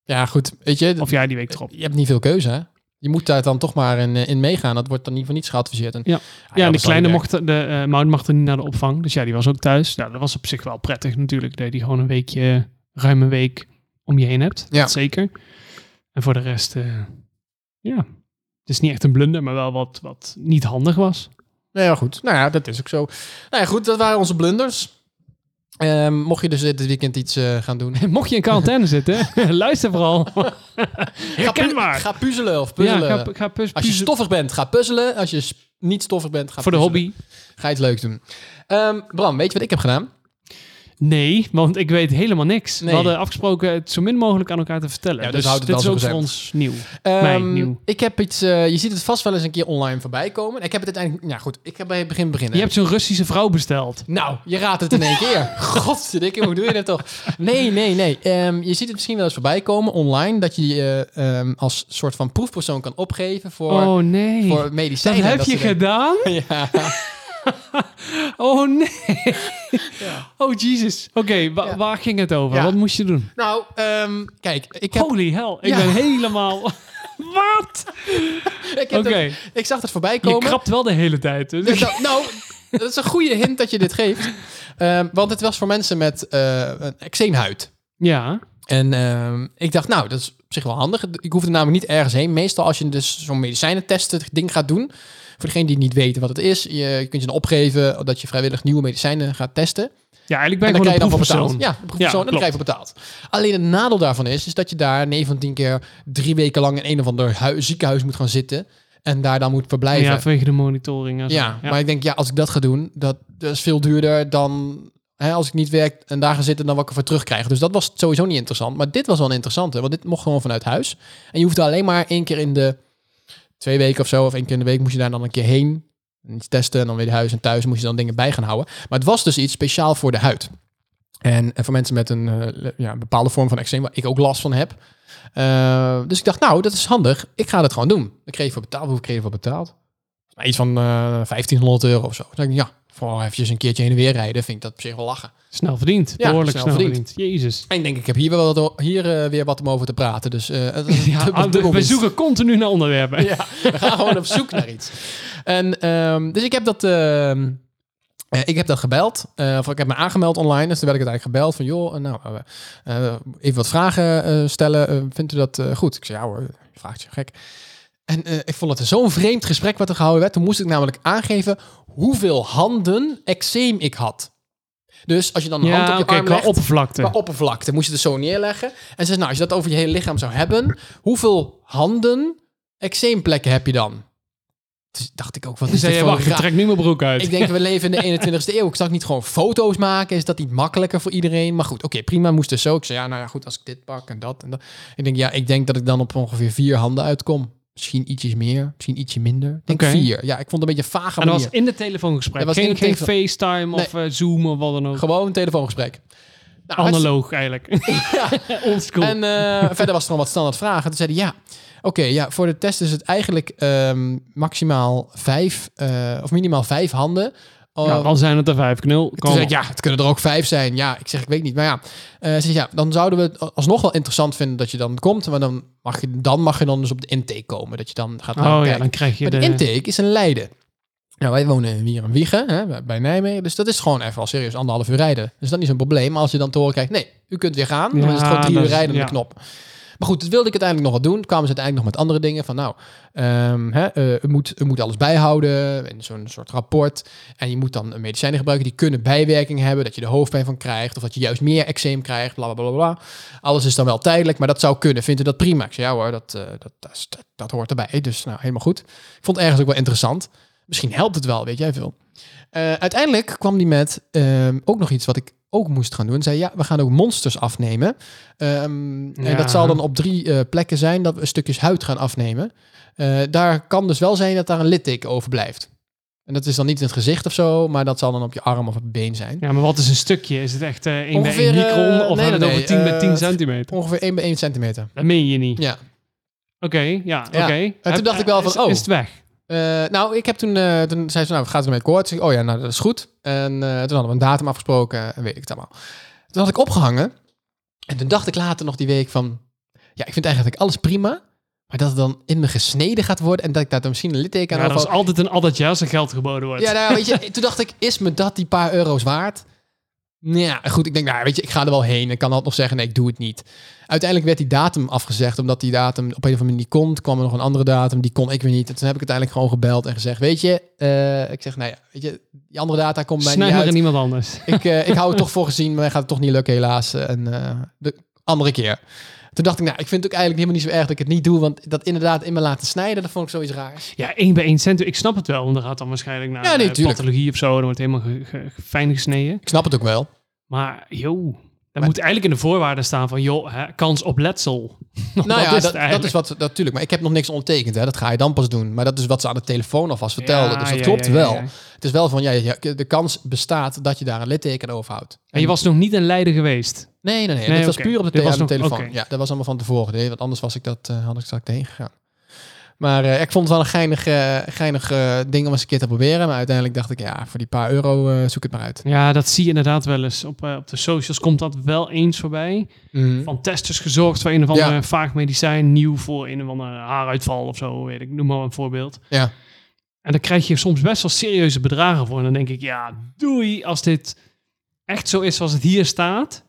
[SPEAKER 1] Ja, goed. Weet je,
[SPEAKER 2] Of ja, die week erop.
[SPEAKER 1] je hebt niet veel keuze, hè? Je moet daar dan toch maar in, eh, in meegaan. Dat wordt dan niet van niets geadviseerd. En,
[SPEAKER 2] Ja.
[SPEAKER 1] Ah, dat
[SPEAKER 2] Ja, en de
[SPEAKER 1] zal niet
[SPEAKER 2] kleine
[SPEAKER 1] werken.
[SPEAKER 2] mocht, de eh Mout mocht er niet naar de opvang. Dus ja, die was ook thuis. Nou, dat was op zich wel prettig natuurlijk. Dat je die gewoon een weekje, ruim een week om je heen hebt.
[SPEAKER 1] Ja.
[SPEAKER 2] Dat zeker. En voor de rest, eh, ja. Het is niet echt een blunder, maar wel wat, wat niet handig was.
[SPEAKER 1] Nee, maar goed. Nou ja, dat is ook zo. Nou ja, goed. Dat waren onze blunders. Ehm, mocht je dus dit weekend iets eh, gaan doen.
[SPEAKER 2] Mocht je in quarantaine zitten, luister vooral.
[SPEAKER 1] Ga, pu-
[SPEAKER 2] Herkenbaar.
[SPEAKER 1] ga puzzelen of puzzelen.
[SPEAKER 2] Ja, ga, ga puz-
[SPEAKER 1] Als je
[SPEAKER 2] puzzel-
[SPEAKER 1] stoffig bent, ga puzzelen. Als je s- niet stoffig bent, ga
[SPEAKER 2] Voor de
[SPEAKER 1] puzzelen.
[SPEAKER 2] hobby?
[SPEAKER 1] Ga iets leuks doen. Ehm, Bram, weet je wat ik heb gedaan?
[SPEAKER 2] Nee, want ik weet helemaal niks.
[SPEAKER 1] Nee.
[SPEAKER 2] We hadden afgesproken het zo min mogelijk aan elkaar te vertellen.
[SPEAKER 1] Ja, dus
[SPEAKER 2] dus
[SPEAKER 1] houd het
[SPEAKER 2] dit
[SPEAKER 1] als
[SPEAKER 2] is
[SPEAKER 1] een
[SPEAKER 2] ook voor
[SPEAKER 1] gezegd.
[SPEAKER 2] ons nieuw.
[SPEAKER 1] Ehm,
[SPEAKER 2] Mij, nieuw.
[SPEAKER 1] Ik heb iets. eh, je ziet het vast wel eens een keer online voorbij komen. Ik heb het uiteindelijk. Ja, goed. Ik heb bij het begin beginnen.
[SPEAKER 2] Je hebt zo'n Russische vrouw besteld.
[SPEAKER 1] Nou, je raadt het in één keer. Godverdikke, hoe doe je dat toch? Nee, nee, nee. Ehm, je ziet het misschien wel eens voorbij komen online... dat je je ehm, als soort van proefpersoon kan opgeven voor,
[SPEAKER 2] oh nee.
[SPEAKER 1] voor
[SPEAKER 2] dat
[SPEAKER 1] medicijnen. en
[SPEAKER 2] heb je
[SPEAKER 1] soort dingen.
[SPEAKER 2] gedaan?
[SPEAKER 1] Ja.
[SPEAKER 2] Oh nee. Oh Jesus. Oké, wa-
[SPEAKER 1] Ja.
[SPEAKER 2] waar ging het over?
[SPEAKER 1] Ja.
[SPEAKER 2] Wat moest je doen?
[SPEAKER 1] Nou, ehm, kijk, ik heb...
[SPEAKER 2] Holy hell, ik
[SPEAKER 1] Ja.
[SPEAKER 2] ben helemaal... Wat?
[SPEAKER 1] ik,
[SPEAKER 2] Oké,
[SPEAKER 1] heb het- ik zag het voorbij
[SPEAKER 2] je
[SPEAKER 1] komen.
[SPEAKER 2] krabt wel de hele tijd. Dus
[SPEAKER 1] Dus dat- nou, dat is een goede hint dat je dit geeft. Ehm, want het was voor mensen met eh, een eczeemhuid.
[SPEAKER 2] Ja,
[SPEAKER 1] En ehm, ik dacht, nou, dat is op zich wel handig. Ik hoefde namelijk niet ergens heen. Meestal als je dus zo'n medicijnentesten ding gaat doen... voor degenen die niet weten wat het is... je, je kunt je dan opgeven dat je vrijwillig nieuwe medicijnen gaat testen.
[SPEAKER 2] ja eigenlijk ben
[SPEAKER 1] en
[SPEAKER 2] ik
[SPEAKER 1] dan
[SPEAKER 2] gewoon
[SPEAKER 1] krijg je
[SPEAKER 2] een
[SPEAKER 1] dan voor betaald.
[SPEAKER 2] proefpersoon.
[SPEAKER 1] Ja, een proefpersoon, en dan
[SPEAKER 2] klopt.
[SPEAKER 1] krijg je voor betaald. Alleen het nadeel daarvan is... is dat je daar 9 van 10 keer drie weken lang... in een of ander hui- ziekenhuis moet gaan zitten... en daar dan moet verblijven.
[SPEAKER 2] Ja, vanwege de monitoring. en zo.
[SPEAKER 1] Ja, maar ik denk, ja, als ik dat ga doen, dat, dat is veel duurder dan hè, als ik niet werk en daar ga zitten, dan wat ik ervoor terugkrijg. Dus dat was sowieso niet interessant. Maar dit was wel interessant, hè, want dit mocht gewoon vanuit huis. En je hoefde alleen maar één keer in de twee weken of zo, of één keer in de week, moest je daar dan een keer heen. En iets testen en dan weer naar huis en thuis moest je dan dingen bij gaan houden. Maar het was dus iets speciaal voor de huid. En, en voor mensen met een eh, le- ja, een bepaalde vorm van eczeem, waar ik ook last van heb. Eh, dus ik dacht, nou, dat is handig. Ik ga dat gewoon doen. Ik kreeg voor betaald. Hoeveel kreeg ik voor betaald? Nou, iets van eh 1500 euro of zo. Toen dacht ik, ja, vooral eventjes een keertje heen en weer rijden. Vind ik dat op zich wel lachen.
[SPEAKER 2] Snel verdiend.
[SPEAKER 1] Ja,
[SPEAKER 2] Behoorlijk
[SPEAKER 1] snel
[SPEAKER 2] snel,
[SPEAKER 1] verdiend.
[SPEAKER 2] verdiend. Jezus.
[SPEAKER 1] En ik denk, ik heb hier, wel wat, hier eh, weer wat om over te praten. Dus eh, het is
[SPEAKER 2] Ja,
[SPEAKER 1] dubbel-
[SPEAKER 2] Ah, we-
[SPEAKER 1] dubbel
[SPEAKER 2] we
[SPEAKER 1] winst.
[SPEAKER 2] zoeken continu naar onderwerpen.
[SPEAKER 1] Ja, we gaan gewoon op zoek naar iets. En, ehm, dus ik heb dat... ehm, eh, ik heb dat gebeld, eh, of ik heb me aangemeld online. Dus toen werd ik uiteindelijk gebeld van, joh, eh, nou, eh, eh, even wat vragen eh, stellen. Eh, vindt u dat eh, goed? Ik zei, ja hoor, je vraagt je gek. En eh, ik vond het zo'n vreemd gesprek wat er gehouden werd. Toen moest ik namelijk aangeven hoeveel handen eczeem ik had. Dus als je dan een hand op
[SPEAKER 2] Ja,
[SPEAKER 1] je
[SPEAKER 2] oké,
[SPEAKER 1] arm
[SPEAKER 2] qua
[SPEAKER 1] legt,
[SPEAKER 2] oppervlakte.
[SPEAKER 1] Qua oppervlakte. Moest je het zo neerleggen. En ze zei, nou, als je dat over je hele lichaam zou hebben, hoeveel handen eczeemplekken heb je dan? Dus dacht ik ook, wat is
[SPEAKER 2] Zei
[SPEAKER 1] dit
[SPEAKER 2] je,
[SPEAKER 1] voor
[SPEAKER 2] wacht, ik
[SPEAKER 1] raar-
[SPEAKER 2] trek nu mijn broek uit.
[SPEAKER 1] ik denk, we leven in de 21ste eeuw. Ik zag niet gewoon foto's maken. Is dat niet makkelijker voor iedereen? Maar goed, oké, prima. Moest dus zo. Ik zei, ja, nou ja, goed, als ik dit pak en dat en dat. Ik denk, ja, ik denk dat ik dan op ongeveer vier handen uitkom. Misschien ietsjes meer, misschien ietsje minder. Ik denk
[SPEAKER 2] Oké.
[SPEAKER 1] vier. Ja, ik vond het een beetje een vage
[SPEAKER 2] en dat
[SPEAKER 1] manier.
[SPEAKER 2] was in de telefoongesprek.
[SPEAKER 1] Dat was in
[SPEAKER 2] geen
[SPEAKER 1] de
[SPEAKER 2] geen
[SPEAKER 1] telefoon-
[SPEAKER 2] FaceTime of eh, Zoom of wat dan ook.
[SPEAKER 1] Gewoon een telefoongesprek. Nou,
[SPEAKER 2] Analoog eigenlijk. Oldschool.
[SPEAKER 1] En eh, verder was er nog wat standaard vragen. Toen zeiden ja, oké, ja, voor de test is het eigenlijk ehm, maximaal vijf, eh, of minimaal vijf handen. Oh,
[SPEAKER 2] ja, dan zijn het er vijf knul.
[SPEAKER 1] toen
[SPEAKER 2] Kom
[SPEAKER 1] zei
[SPEAKER 2] op.
[SPEAKER 1] ik, ja, het kunnen er ook vijf zijn. Ja, ik zeg, ik weet niet. Maar ja, eh, ze zei, ja, dan zouden we het alsnog wel interessant vinden dat je dan komt. Maar dan mag je dan, mag je dan dus op de intake komen. Dat je dan gaat
[SPEAKER 2] Oh ja,
[SPEAKER 1] kijken.
[SPEAKER 2] dan krijg je
[SPEAKER 1] Maar de
[SPEAKER 2] de...
[SPEAKER 1] intake is in Leiden. Nou, wij wonen hier in Wiegen, hè, bij Nijmegen. Dus dat is gewoon even al serieus anderhalf uur rijden. Dus dat is een probleem. Maar als je dan te horen krijgt, nee, u kunt weer gaan. Dan
[SPEAKER 2] Ja,
[SPEAKER 1] is het gewoon drie
[SPEAKER 2] dat
[SPEAKER 1] uur
[SPEAKER 2] is-
[SPEAKER 1] rijden aan
[SPEAKER 2] ja.
[SPEAKER 1] de knop. Maar goed, dat wilde ik uiteindelijk nog wat doen. Kwamen ze uiteindelijk nog met andere dingen. Van nou, ehm, hè, eh, u, moet, u moet alles bijhouden. En zo'n soort rapport. En je moet dan medicijnen gebruiken. Die kunnen bijwerking hebben. Dat je de hoofdpijn van krijgt. Of dat je juist meer eczeem krijgt. Bla, bla, bla, bla. Alles is dan wel tijdelijk. Maar dat zou kunnen. Vindt u dat prima? Ik zei ja hoor, dat, eh, dat, dat, is- dat, dat hoort erbij. Dus nou, helemaal goed. Ik vond het ergens ook wel interessant. Misschien helpt het wel, weet jij veel. Eh, uiteindelijk kwam die met ehm, ook nog iets wat ik ook moest gaan doen. Zei ja, we gaan ook monsters afnemen. Ehm, En
[SPEAKER 2] Ja.
[SPEAKER 1] dat zal dan op drie eh, plekken zijn dat we stukjes huid gaan afnemen. Eh, daar kan dus wel zijn dat daar een litteken overblijft. En dat is dan niet in het gezicht of zo, maar dat zal dan op je arm of op het been zijn.
[SPEAKER 2] Ja, maar wat is een stukje? Is het echt eh 1 bij
[SPEAKER 1] Ongeveer,
[SPEAKER 2] 1 micron?
[SPEAKER 1] eh,
[SPEAKER 2] Of
[SPEAKER 1] nee,
[SPEAKER 2] hebben we
[SPEAKER 1] nee,
[SPEAKER 2] het over 10 bij
[SPEAKER 1] eh,
[SPEAKER 2] 10 centimeter?
[SPEAKER 1] Ongeveer 1 bij 1 centimeter.
[SPEAKER 2] Dat meen je niet.
[SPEAKER 1] Ja.
[SPEAKER 2] Oké, ja, oké.
[SPEAKER 1] Ja. En toen
[SPEAKER 2] Heb-
[SPEAKER 1] dacht ik wel
[SPEAKER 2] is-
[SPEAKER 1] van, oh.
[SPEAKER 2] Is het weg?
[SPEAKER 1] Eh, nou, ik heb toen, eh, toen zei ze, nou, gaat het ermee akkoord? Ik zei, oh ja, nou, dat is goed. En eh, toen hadden we een datum afgesproken en weet ik het allemaal. Toen had ik opgehangen en toen dacht ik later nog die week van, ja, ik vind eigenlijk alles prima, maar dat het dan in me gesneden gaat worden en dat ik daar dan misschien een litteken aan
[SPEAKER 2] Ja, er is
[SPEAKER 1] overhoud.
[SPEAKER 2] altijd een addertje als er geld geboden wordt.
[SPEAKER 1] Ja, nou, ja, weet je, toen dacht ik, is me dat die paar euro's waard? Nou Ja, goed, ik denk, nou, weet je, ik ga er wel heen. Ik kan altijd nog zeggen, nee, ik doe het niet. Uiteindelijk werd die datum afgezegd, omdat die datum op een of andere manier niet kon. Toen kwam er nog een andere datum, die kon ik weer niet. En toen heb ik uiteindelijk gewoon gebeld en gezegd, weet je, eh, ik zeg, nou ja, weet je, die andere data komt mij
[SPEAKER 2] Snijd
[SPEAKER 1] niet
[SPEAKER 2] maar
[SPEAKER 1] uit.
[SPEAKER 2] in iemand anders.
[SPEAKER 1] Ik, eh, ik hou het toch voor gezien, maar mij gaat het toch niet lukken helaas. En eh, de andere keer. Toen Toen dacht ik, nou, ik vind het ook eigenlijk helemaal niet zo erg dat ik het niet doe. Want dat inderdaad in me laten snijden, dat vond ik zoiets raars.
[SPEAKER 2] Ja, één bij één cent. Ik snap het wel, want er gaat dan waarschijnlijk naar
[SPEAKER 1] Ja, nee,
[SPEAKER 2] eh,
[SPEAKER 1] tuurlijk.
[SPEAKER 2] pathologie of zo. Dan wordt het helemaal ge- ge- ge- fijn gesneden.
[SPEAKER 1] Ik snap het ook wel.
[SPEAKER 2] Maar joh, daar moet eigenlijk in de voorwaarden staan van joh, hè, kans op letsel. nou
[SPEAKER 1] Nou ja,
[SPEAKER 2] dat is
[SPEAKER 1] dat,
[SPEAKER 2] het
[SPEAKER 1] dat
[SPEAKER 2] eigenlijk.
[SPEAKER 1] is wat, natuurlijk. Maar ik heb nog niks ondertekend, hè. dat ga je dan pas doen. Maar dat is wat ze aan de telefoon alvast vertelden.
[SPEAKER 2] Ja,
[SPEAKER 1] dus dat
[SPEAKER 2] ja,
[SPEAKER 1] klopt
[SPEAKER 2] ja, ja,
[SPEAKER 1] wel.
[SPEAKER 2] ja.
[SPEAKER 1] Het is wel van, ja, ja, de kans bestaat dat je daar een litteken over houdt.
[SPEAKER 2] En je was nog niet in Leiden geweest.
[SPEAKER 1] Nee, nee, nee.
[SPEAKER 2] Nee,
[SPEAKER 1] dat was
[SPEAKER 2] oké.
[SPEAKER 1] puur op de,
[SPEAKER 2] Dit
[SPEAKER 1] te-
[SPEAKER 2] was
[SPEAKER 1] aan de
[SPEAKER 2] nog-
[SPEAKER 1] telefoon.
[SPEAKER 2] oké.
[SPEAKER 1] Ja, dat was allemaal van tevoren. Nee, want anders was ik dat, eh, had ik straks heen gegaan. Maar eh, ik vond het wel een geinig, eh, geinig eh, ding om eens een keer te proberen. Maar uiteindelijk dacht ik, ja, voor die paar euro eh, zoek het maar uit.
[SPEAKER 2] Ja, dat zie je inderdaad wel eens. Op, eh, op de socials komt dat wel eens voorbij.
[SPEAKER 1] Mm.
[SPEAKER 2] Van testers gezorgd voor een of andere
[SPEAKER 1] Ja.
[SPEAKER 2] vaag medicijn. Nieuw voor een of andere haaruitval of zo. Weet ik, noem maar een voorbeeld.
[SPEAKER 1] Ja.
[SPEAKER 2] En dan krijg je soms best wel serieuze bedragen voor. En dan denk ik, ja, doei. Als dit echt zo is zoals het hier staat,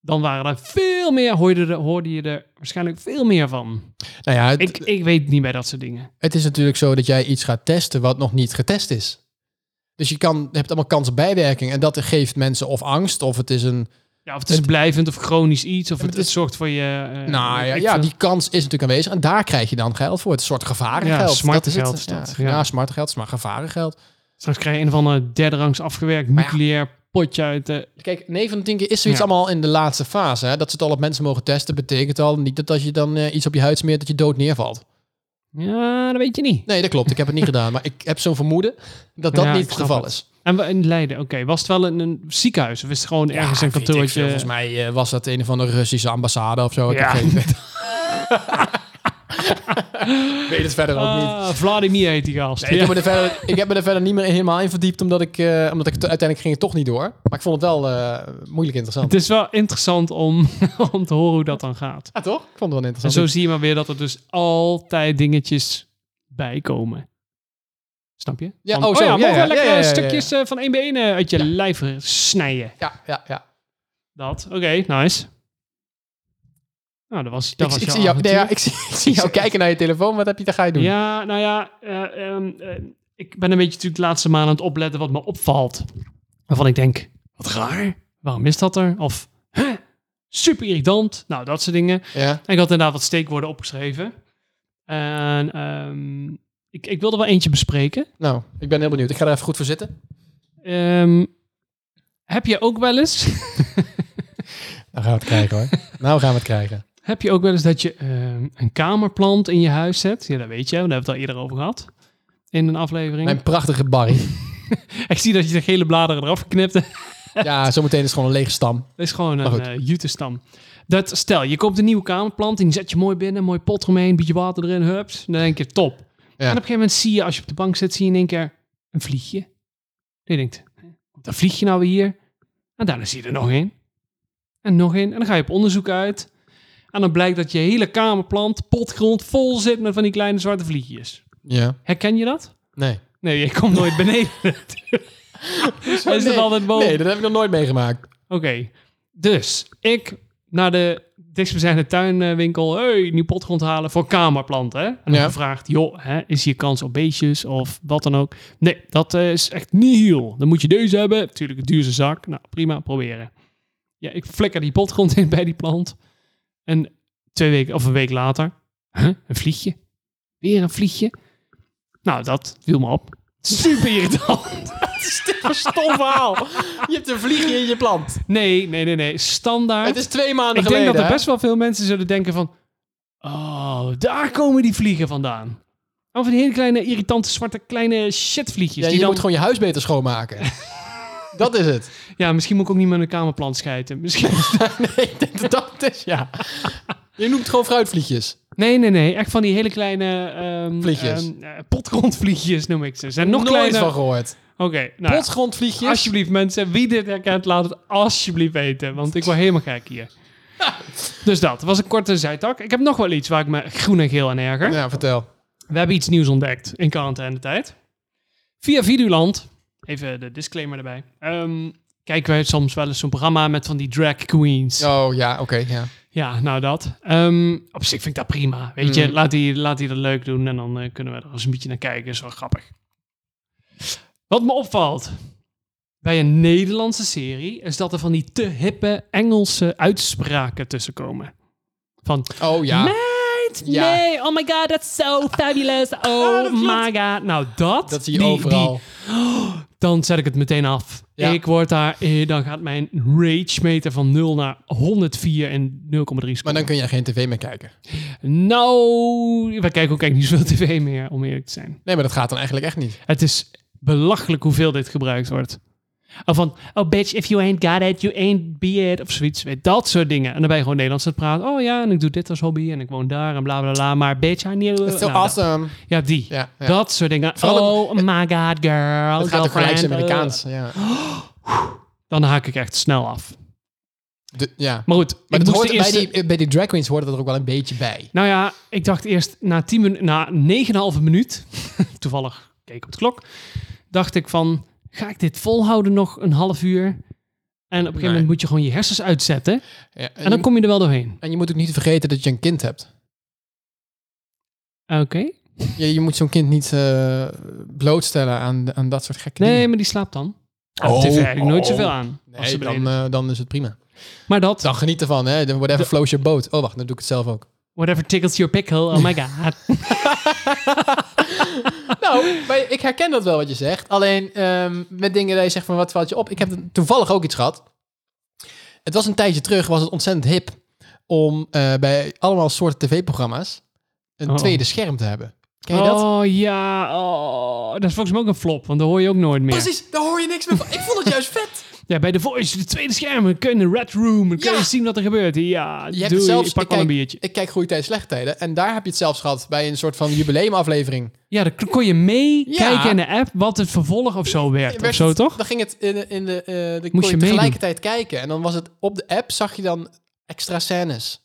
[SPEAKER 2] dan waren er veel meer, hoorde, er- hoorde je er waarschijnlijk veel meer van.
[SPEAKER 1] Nou ja, het,
[SPEAKER 2] Ik, ik weet niet bij dat soort dingen.
[SPEAKER 1] het is natuurlijk zo dat jij iets gaat testen wat nog niet getest is. Dus je kan, je hebt allemaal kansen bijwerking. En dat geeft mensen of angst, of het is een...
[SPEAKER 2] Ja, of het is blijvend of chronisch iets. Of
[SPEAKER 1] maar
[SPEAKER 2] het,
[SPEAKER 1] het
[SPEAKER 2] het
[SPEAKER 1] is-
[SPEAKER 2] zorgt voor je... eh,
[SPEAKER 1] nou ja,
[SPEAKER 2] ik
[SPEAKER 1] ja,
[SPEAKER 2] vind-
[SPEAKER 1] die kans is natuurlijk aanwezig. En daar krijg je dan geld voor. Het is een soort gevarengeld.
[SPEAKER 2] Ja,
[SPEAKER 1] Dat
[SPEAKER 2] smartengeld
[SPEAKER 1] is
[SPEAKER 2] is
[SPEAKER 1] het.
[SPEAKER 2] dat,
[SPEAKER 1] Ja,
[SPEAKER 2] ja.
[SPEAKER 1] ja, smartengeld, maar gevarengeld.
[SPEAKER 2] Straks krijg je een of andere derde rangs afgewerkt
[SPEAKER 1] Maar ja.
[SPEAKER 2] nucleair potje uit eh. de...
[SPEAKER 1] Kijk, 9 van de 10 keer is zoiets
[SPEAKER 2] Ja.
[SPEAKER 1] allemaal in de laatste fase. Hè? Dat ze het al op mensen mogen testen, betekent al niet dat als je dan eh, iets op je huid smeert, dat je dood neervalt.
[SPEAKER 2] Ja, dat weet je niet.
[SPEAKER 1] Nee, dat klopt. Ik heb het niet gedaan. Maar ik heb zo'n vermoeden dat dat
[SPEAKER 2] Ja, ik
[SPEAKER 1] niet het
[SPEAKER 2] snap
[SPEAKER 1] geval
[SPEAKER 2] het.
[SPEAKER 1] is.
[SPEAKER 2] En we- in Leiden, oké. Was het wel een, een ziekenhuis? Of is het gewoon ergens
[SPEAKER 1] Ja,
[SPEAKER 2] een
[SPEAKER 1] weet ik veel.
[SPEAKER 2] kantoortje?
[SPEAKER 1] Volgens mij eh, was dat een van de Russische ambassade of zo. Ik
[SPEAKER 2] Ja.
[SPEAKER 1] heb geen idee. Ik weet het verder ook niet.
[SPEAKER 2] Ah, Vladimir heet die gast.
[SPEAKER 1] Nee, ik, heb me er verder, ik heb me er verder niet meer helemaal in verdiept, omdat ik, eh, omdat ik het- uiteindelijk ging het toch niet door. Maar ik vond het wel eh, moeilijk interessant.
[SPEAKER 2] Het is wel interessant om, om te horen hoe dat dan gaat.
[SPEAKER 1] Ja, toch? Ik vond het wel
[SPEAKER 2] En
[SPEAKER 1] interessant.
[SPEAKER 2] zo zie je maar weer dat er dus altijd dingetjes bij komen. Snap je?
[SPEAKER 1] Ja,
[SPEAKER 2] Van,
[SPEAKER 1] oh, zo, ja,
[SPEAKER 2] ja, mogen
[SPEAKER 1] ja,
[SPEAKER 2] we lekker
[SPEAKER 1] ja, ja, ja, ja.
[SPEAKER 2] stukjes eh, van één bij één eh, uit je lijf eh, snijden.
[SPEAKER 1] Ja, ja, ja.
[SPEAKER 2] Dat, oké, nice. Nou, dat was, dat
[SPEAKER 1] Ik,
[SPEAKER 2] was
[SPEAKER 1] ik
[SPEAKER 2] jouw
[SPEAKER 1] zie jou, nee, ja,
[SPEAKER 2] avontuur.
[SPEAKER 1] ik, zie, ik zie jou kijken naar je telefoon. Wat heb je, daar ga je doen?
[SPEAKER 2] Ja, nou ja, eh, ehm, eh, ik ben een beetje natuurlijk de laatste maanden aan het opletten wat me opvalt. Waarvan ik denk, wat raar, waarom is dat er? Of, hè, super irritant, nou dat soort dingen.
[SPEAKER 1] Ja.
[SPEAKER 2] En ik had inderdaad wat steekwoorden opgeschreven. En ehm, ik, ik wilde wel eentje bespreken.
[SPEAKER 1] Nou, ik ben heel benieuwd. Ik ga er even goed voor zitten.
[SPEAKER 2] Ehm, heb je ook wel eens,
[SPEAKER 1] Nou gaan we het krijgen hoor. nou gaan we het krijgen.
[SPEAKER 2] heb je ook wel eens dat je ehm, een kamerplant in je huis zet? Ja, dat weet je, want daar hebben we het al eerder over gehad. In een aflevering.
[SPEAKER 1] Mijn prachtige Barry.
[SPEAKER 2] Ik zie dat je de gele bladeren eraf geknipt hebt.
[SPEAKER 1] ja, zometeen is het gewoon een lege stam.
[SPEAKER 2] Dat is gewoon
[SPEAKER 1] Maar
[SPEAKER 2] een
[SPEAKER 1] goed.
[SPEAKER 2] eh jutestam. Dat, stel, je koopt een nieuwe kamerplant en die zet je mooi binnen, mooi pot eromheen, beetje water erin, hups. Dan denk je, top. En op een gegeven moment zie je, als je op de bank zit, zie je in één keer een vliegje. En je denkt, dat vliegje nou weer hier? En daarna zie je er nog één. En nog één. En dan ga je op onderzoek uit. En dan blijkt dat je hele kamerplant, potgrond, vol zit met van die kleine zwarte vliegjes.
[SPEAKER 1] Ja.
[SPEAKER 2] Herken je dat?
[SPEAKER 1] Nee.
[SPEAKER 2] Nee, je komt nooit beneden. Hij zit
[SPEAKER 1] nee.
[SPEAKER 2] altijd boven.
[SPEAKER 1] Nee, dat heb ik nog nooit meegemaakt.
[SPEAKER 2] Oké, dus ik naar de dichtstbijzijnde tuinwinkel, hey, nieuw potgrond halen voor kamerplanten. Hè? En dan
[SPEAKER 1] Ja.
[SPEAKER 2] gevraagd, joh, hè, is hier kans op beestjes of wat dan ook? Nee, dat eh, is echt niet heel. Dan moet je deze hebben. Natuurlijk een duurste zak. Nou, prima, proberen. Ja, ik flikker die potgrond in bij die plant. En twee weken of een week later, huh, een vliegje. Weer een vliegje. Nou, dat viel me op. Super irritant.
[SPEAKER 1] Stom verhaal. Je hebt een vliegje in je plant.
[SPEAKER 2] Nee, nee, nee, nee. Standaard.
[SPEAKER 1] Het is twee maanden
[SPEAKER 2] Ik
[SPEAKER 1] geleden.
[SPEAKER 2] denk dat er
[SPEAKER 1] hè?
[SPEAKER 2] best wel veel mensen zullen denken van... Oh, daar komen die vliegen vandaan. Of die hele kleine, irritante, zwarte, kleine shitvliegjes.
[SPEAKER 1] Ja, je
[SPEAKER 2] die dan...
[SPEAKER 1] moet gewoon je huis beter schoonmaken. dat is het.
[SPEAKER 2] Ja, misschien moet ik ook niet met een kamerplant scheiden. Misschien...
[SPEAKER 1] nee, ik denk dat dat is, ja. Je noemt het gewoon fruitvliegjes.
[SPEAKER 2] nee, nee, nee. Echt van die hele kleine... ehm
[SPEAKER 1] Vliegjes.
[SPEAKER 2] ehm, eh, potgrondvliegjes noem ik ze. Ze Zijn nog
[SPEAKER 1] nooit
[SPEAKER 2] kleiner.
[SPEAKER 1] van gehoord.
[SPEAKER 2] Oké, nou...
[SPEAKER 1] Potgrondvliegjes.
[SPEAKER 2] Alsjeblieft mensen, wie dit herkent, laat het alsjeblieft weten. Want ik word helemaal gek hier. Dus dat, was een korte zijtak. Ik heb nog wel iets waar ik me groen en geel aan erger.
[SPEAKER 1] Ja, vertel.
[SPEAKER 2] We hebben iets nieuws ontdekt in quarantaine-tijd. Via Videoland, even de disclaimer erbij, ehm, kijken wij soms wel eens zo'n programma met van die drag queens.
[SPEAKER 1] Oh ja, oké. ja.
[SPEAKER 2] Ja, nou dat. Ehm, op zich vind ik dat prima. Weet je,
[SPEAKER 1] Mm.
[SPEAKER 2] laat die, laat die dat leuk doen en dan eh, kunnen we er eens een beetje naar kijken. Is wel grappig. Wat me opvalt bij een Nederlandse serie is dat er van die te hippe Engelse uitspraken tussen komen. Van,
[SPEAKER 1] Oh ja.
[SPEAKER 2] meid,
[SPEAKER 1] Ja.
[SPEAKER 2] nee, oh my god, that's so fabulous, oh my god. Nou, dat,
[SPEAKER 1] Dat zie je
[SPEAKER 2] die-
[SPEAKER 1] overal.
[SPEAKER 2] die- dan zet ik het meteen af.
[SPEAKER 1] Ja.
[SPEAKER 2] Ik word daar, eh, dan gaat mijn rage meter van 0 naar 104 en 0,3
[SPEAKER 1] Maar dan
[SPEAKER 2] seconden.
[SPEAKER 1] kun je geen tv meer kijken.
[SPEAKER 2] Nou, wij kijken ook eigenlijk niet zoveel tv meer, om eerlijk te zijn.
[SPEAKER 1] Nee, maar dat gaat dan eigenlijk echt niet.
[SPEAKER 2] Het is belachelijk hoeveel dit gebruikt wordt. Of van, oh bitch, if you ain't got it, you ain't be it, of zoiets. Weet, Dat soort dingen. En dan ben je gewoon Nederlands aan het praten. Oh ja, en ik doe dit als hobby en ik woon daar en bla bla bla. Maar bitch, I knew...
[SPEAKER 1] It's so
[SPEAKER 2] Nou, dat-
[SPEAKER 1] awesome.
[SPEAKER 2] Ja, die.
[SPEAKER 1] Ja, ja.
[SPEAKER 2] Dat soort dingen.
[SPEAKER 1] Vooral
[SPEAKER 2] oh my god, girl.
[SPEAKER 1] Het gaat ook gelijk
[SPEAKER 2] girlfriend,
[SPEAKER 1] zijn
[SPEAKER 2] eh.
[SPEAKER 1] Amerikaans. Ja.
[SPEAKER 2] Dan haak ik echt snel af.
[SPEAKER 1] De- ja.
[SPEAKER 2] Maar goed,
[SPEAKER 1] Maar
[SPEAKER 2] ik
[SPEAKER 1] dat
[SPEAKER 2] moest
[SPEAKER 1] hoort,
[SPEAKER 2] de eerste...
[SPEAKER 1] bij, die, bij die drag queens hoort dat er ook wel een beetje bij.
[SPEAKER 2] Nou ja, ik dacht eerst na, 10 minu- na 9,5 minuut, toevallig keek ik op de klok, dacht ik van, ga ik dit volhouden nog een half uur? En op
[SPEAKER 1] Nee.
[SPEAKER 2] een gegeven
[SPEAKER 1] Eh,
[SPEAKER 2] moment moet je gewoon je hersens uitzetten
[SPEAKER 1] Ja, en,
[SPEAKER 2] en dan
[SPEAKER 1] je,
[SPEAKER 2] kom je er wel doorheen.
[SPEAKER 1] en je moet ook niet vergeten dat je een kind hebt.
[SPEAKER 2] Oké.
[SPEAKER 1] Je, je moet zo'n kind niet eh, blootstellen aan, aan dat soort gekke
[SPEAKER 2] Nee,
[SPEAKER 1] dingen.
[SPEAKER 2] maar die slaapt dan. Oh,
[SPEAKER 1] Oh,
[SPEAKER 2] heeft eigenlijk nooit
[SPEAKER 1] oh.
[SPEAKER 2] zoveel aan. als ze
[SPEAKER 1] Nee, dan,
[SPEAKER 2] beneden is.
[SPEAKER 1] eh, dan is het prima.
[SPEAKER 2] maar dat,
[SPEAKER 1] Dan geniet ervan, hè. Dan Whatever flows your boat. Oh, wacht, dan doe ik het zelf ook.
[SPEAKER 2] whatever tickles your pickle, oh my god.
[SPEAKER 1] Nou, maar ik herken dat wel wat je zegt. Alleen ehm, met dingen dat je zegt van wat valt je op. Ik heb toevallig ook iets gehad. Het was een tijdje terug, was het ontzettend hip om eh, bij allemaal soorten tv-programma's een
[SPEAKER 2] Oh.
[SPEAKER 1] tweede scherm te hebben. Ken je dat?
[SPEAKER 2] Oh ja, oh, dat is volgens mij ook een flop, want daar hoor je ook nooit meer.
[SPEAKER 1] Precies, daar hoor je niks meer van. Ik vond het juist vet.
[SPEAKER 2] Ja, bij The Voice, de tweede scherm, dan kun je in de Red Room, dan kun je
[SPEAKER 1] Ja.
[SPEAKER 2] zien wat er gebeurt. Ja,
[SPEAKER 1] Je hebt
[SPEAKER 2] doei,
[SPEAKER 1] het zelfs,
[SPEAKER 2] ik pak wel
[SPEAKER 1] kijk,
[SPEAKER 2] een biertje.
[SPEAKER 1] Ik kijk goede tijd, slechte tijden. En daar heb je het zelfs gehad bij een soort van jubileumaflevering.
[SPEAKER 2] Ja, dan kon je meekijken
[SPEAKER 1] Ja.
[SPEAKER 2] in de app wat het vervolg of zo werd,
[SPEAKER 1] werd
[SPEAKER 2] of zo
[SPEAKER 1] het-
[SPEAKER 2] toch?
[SPEAKER 1] Dan ging het in de, in de, eh dan kon
[SPEAKER 2] je
[SPEAKER 1] je
[SPEAKER 2] meedoen.
[SPEAKER 1] tegelijkertijd kijken. En dan was het op de app, zag je dan extra scènes.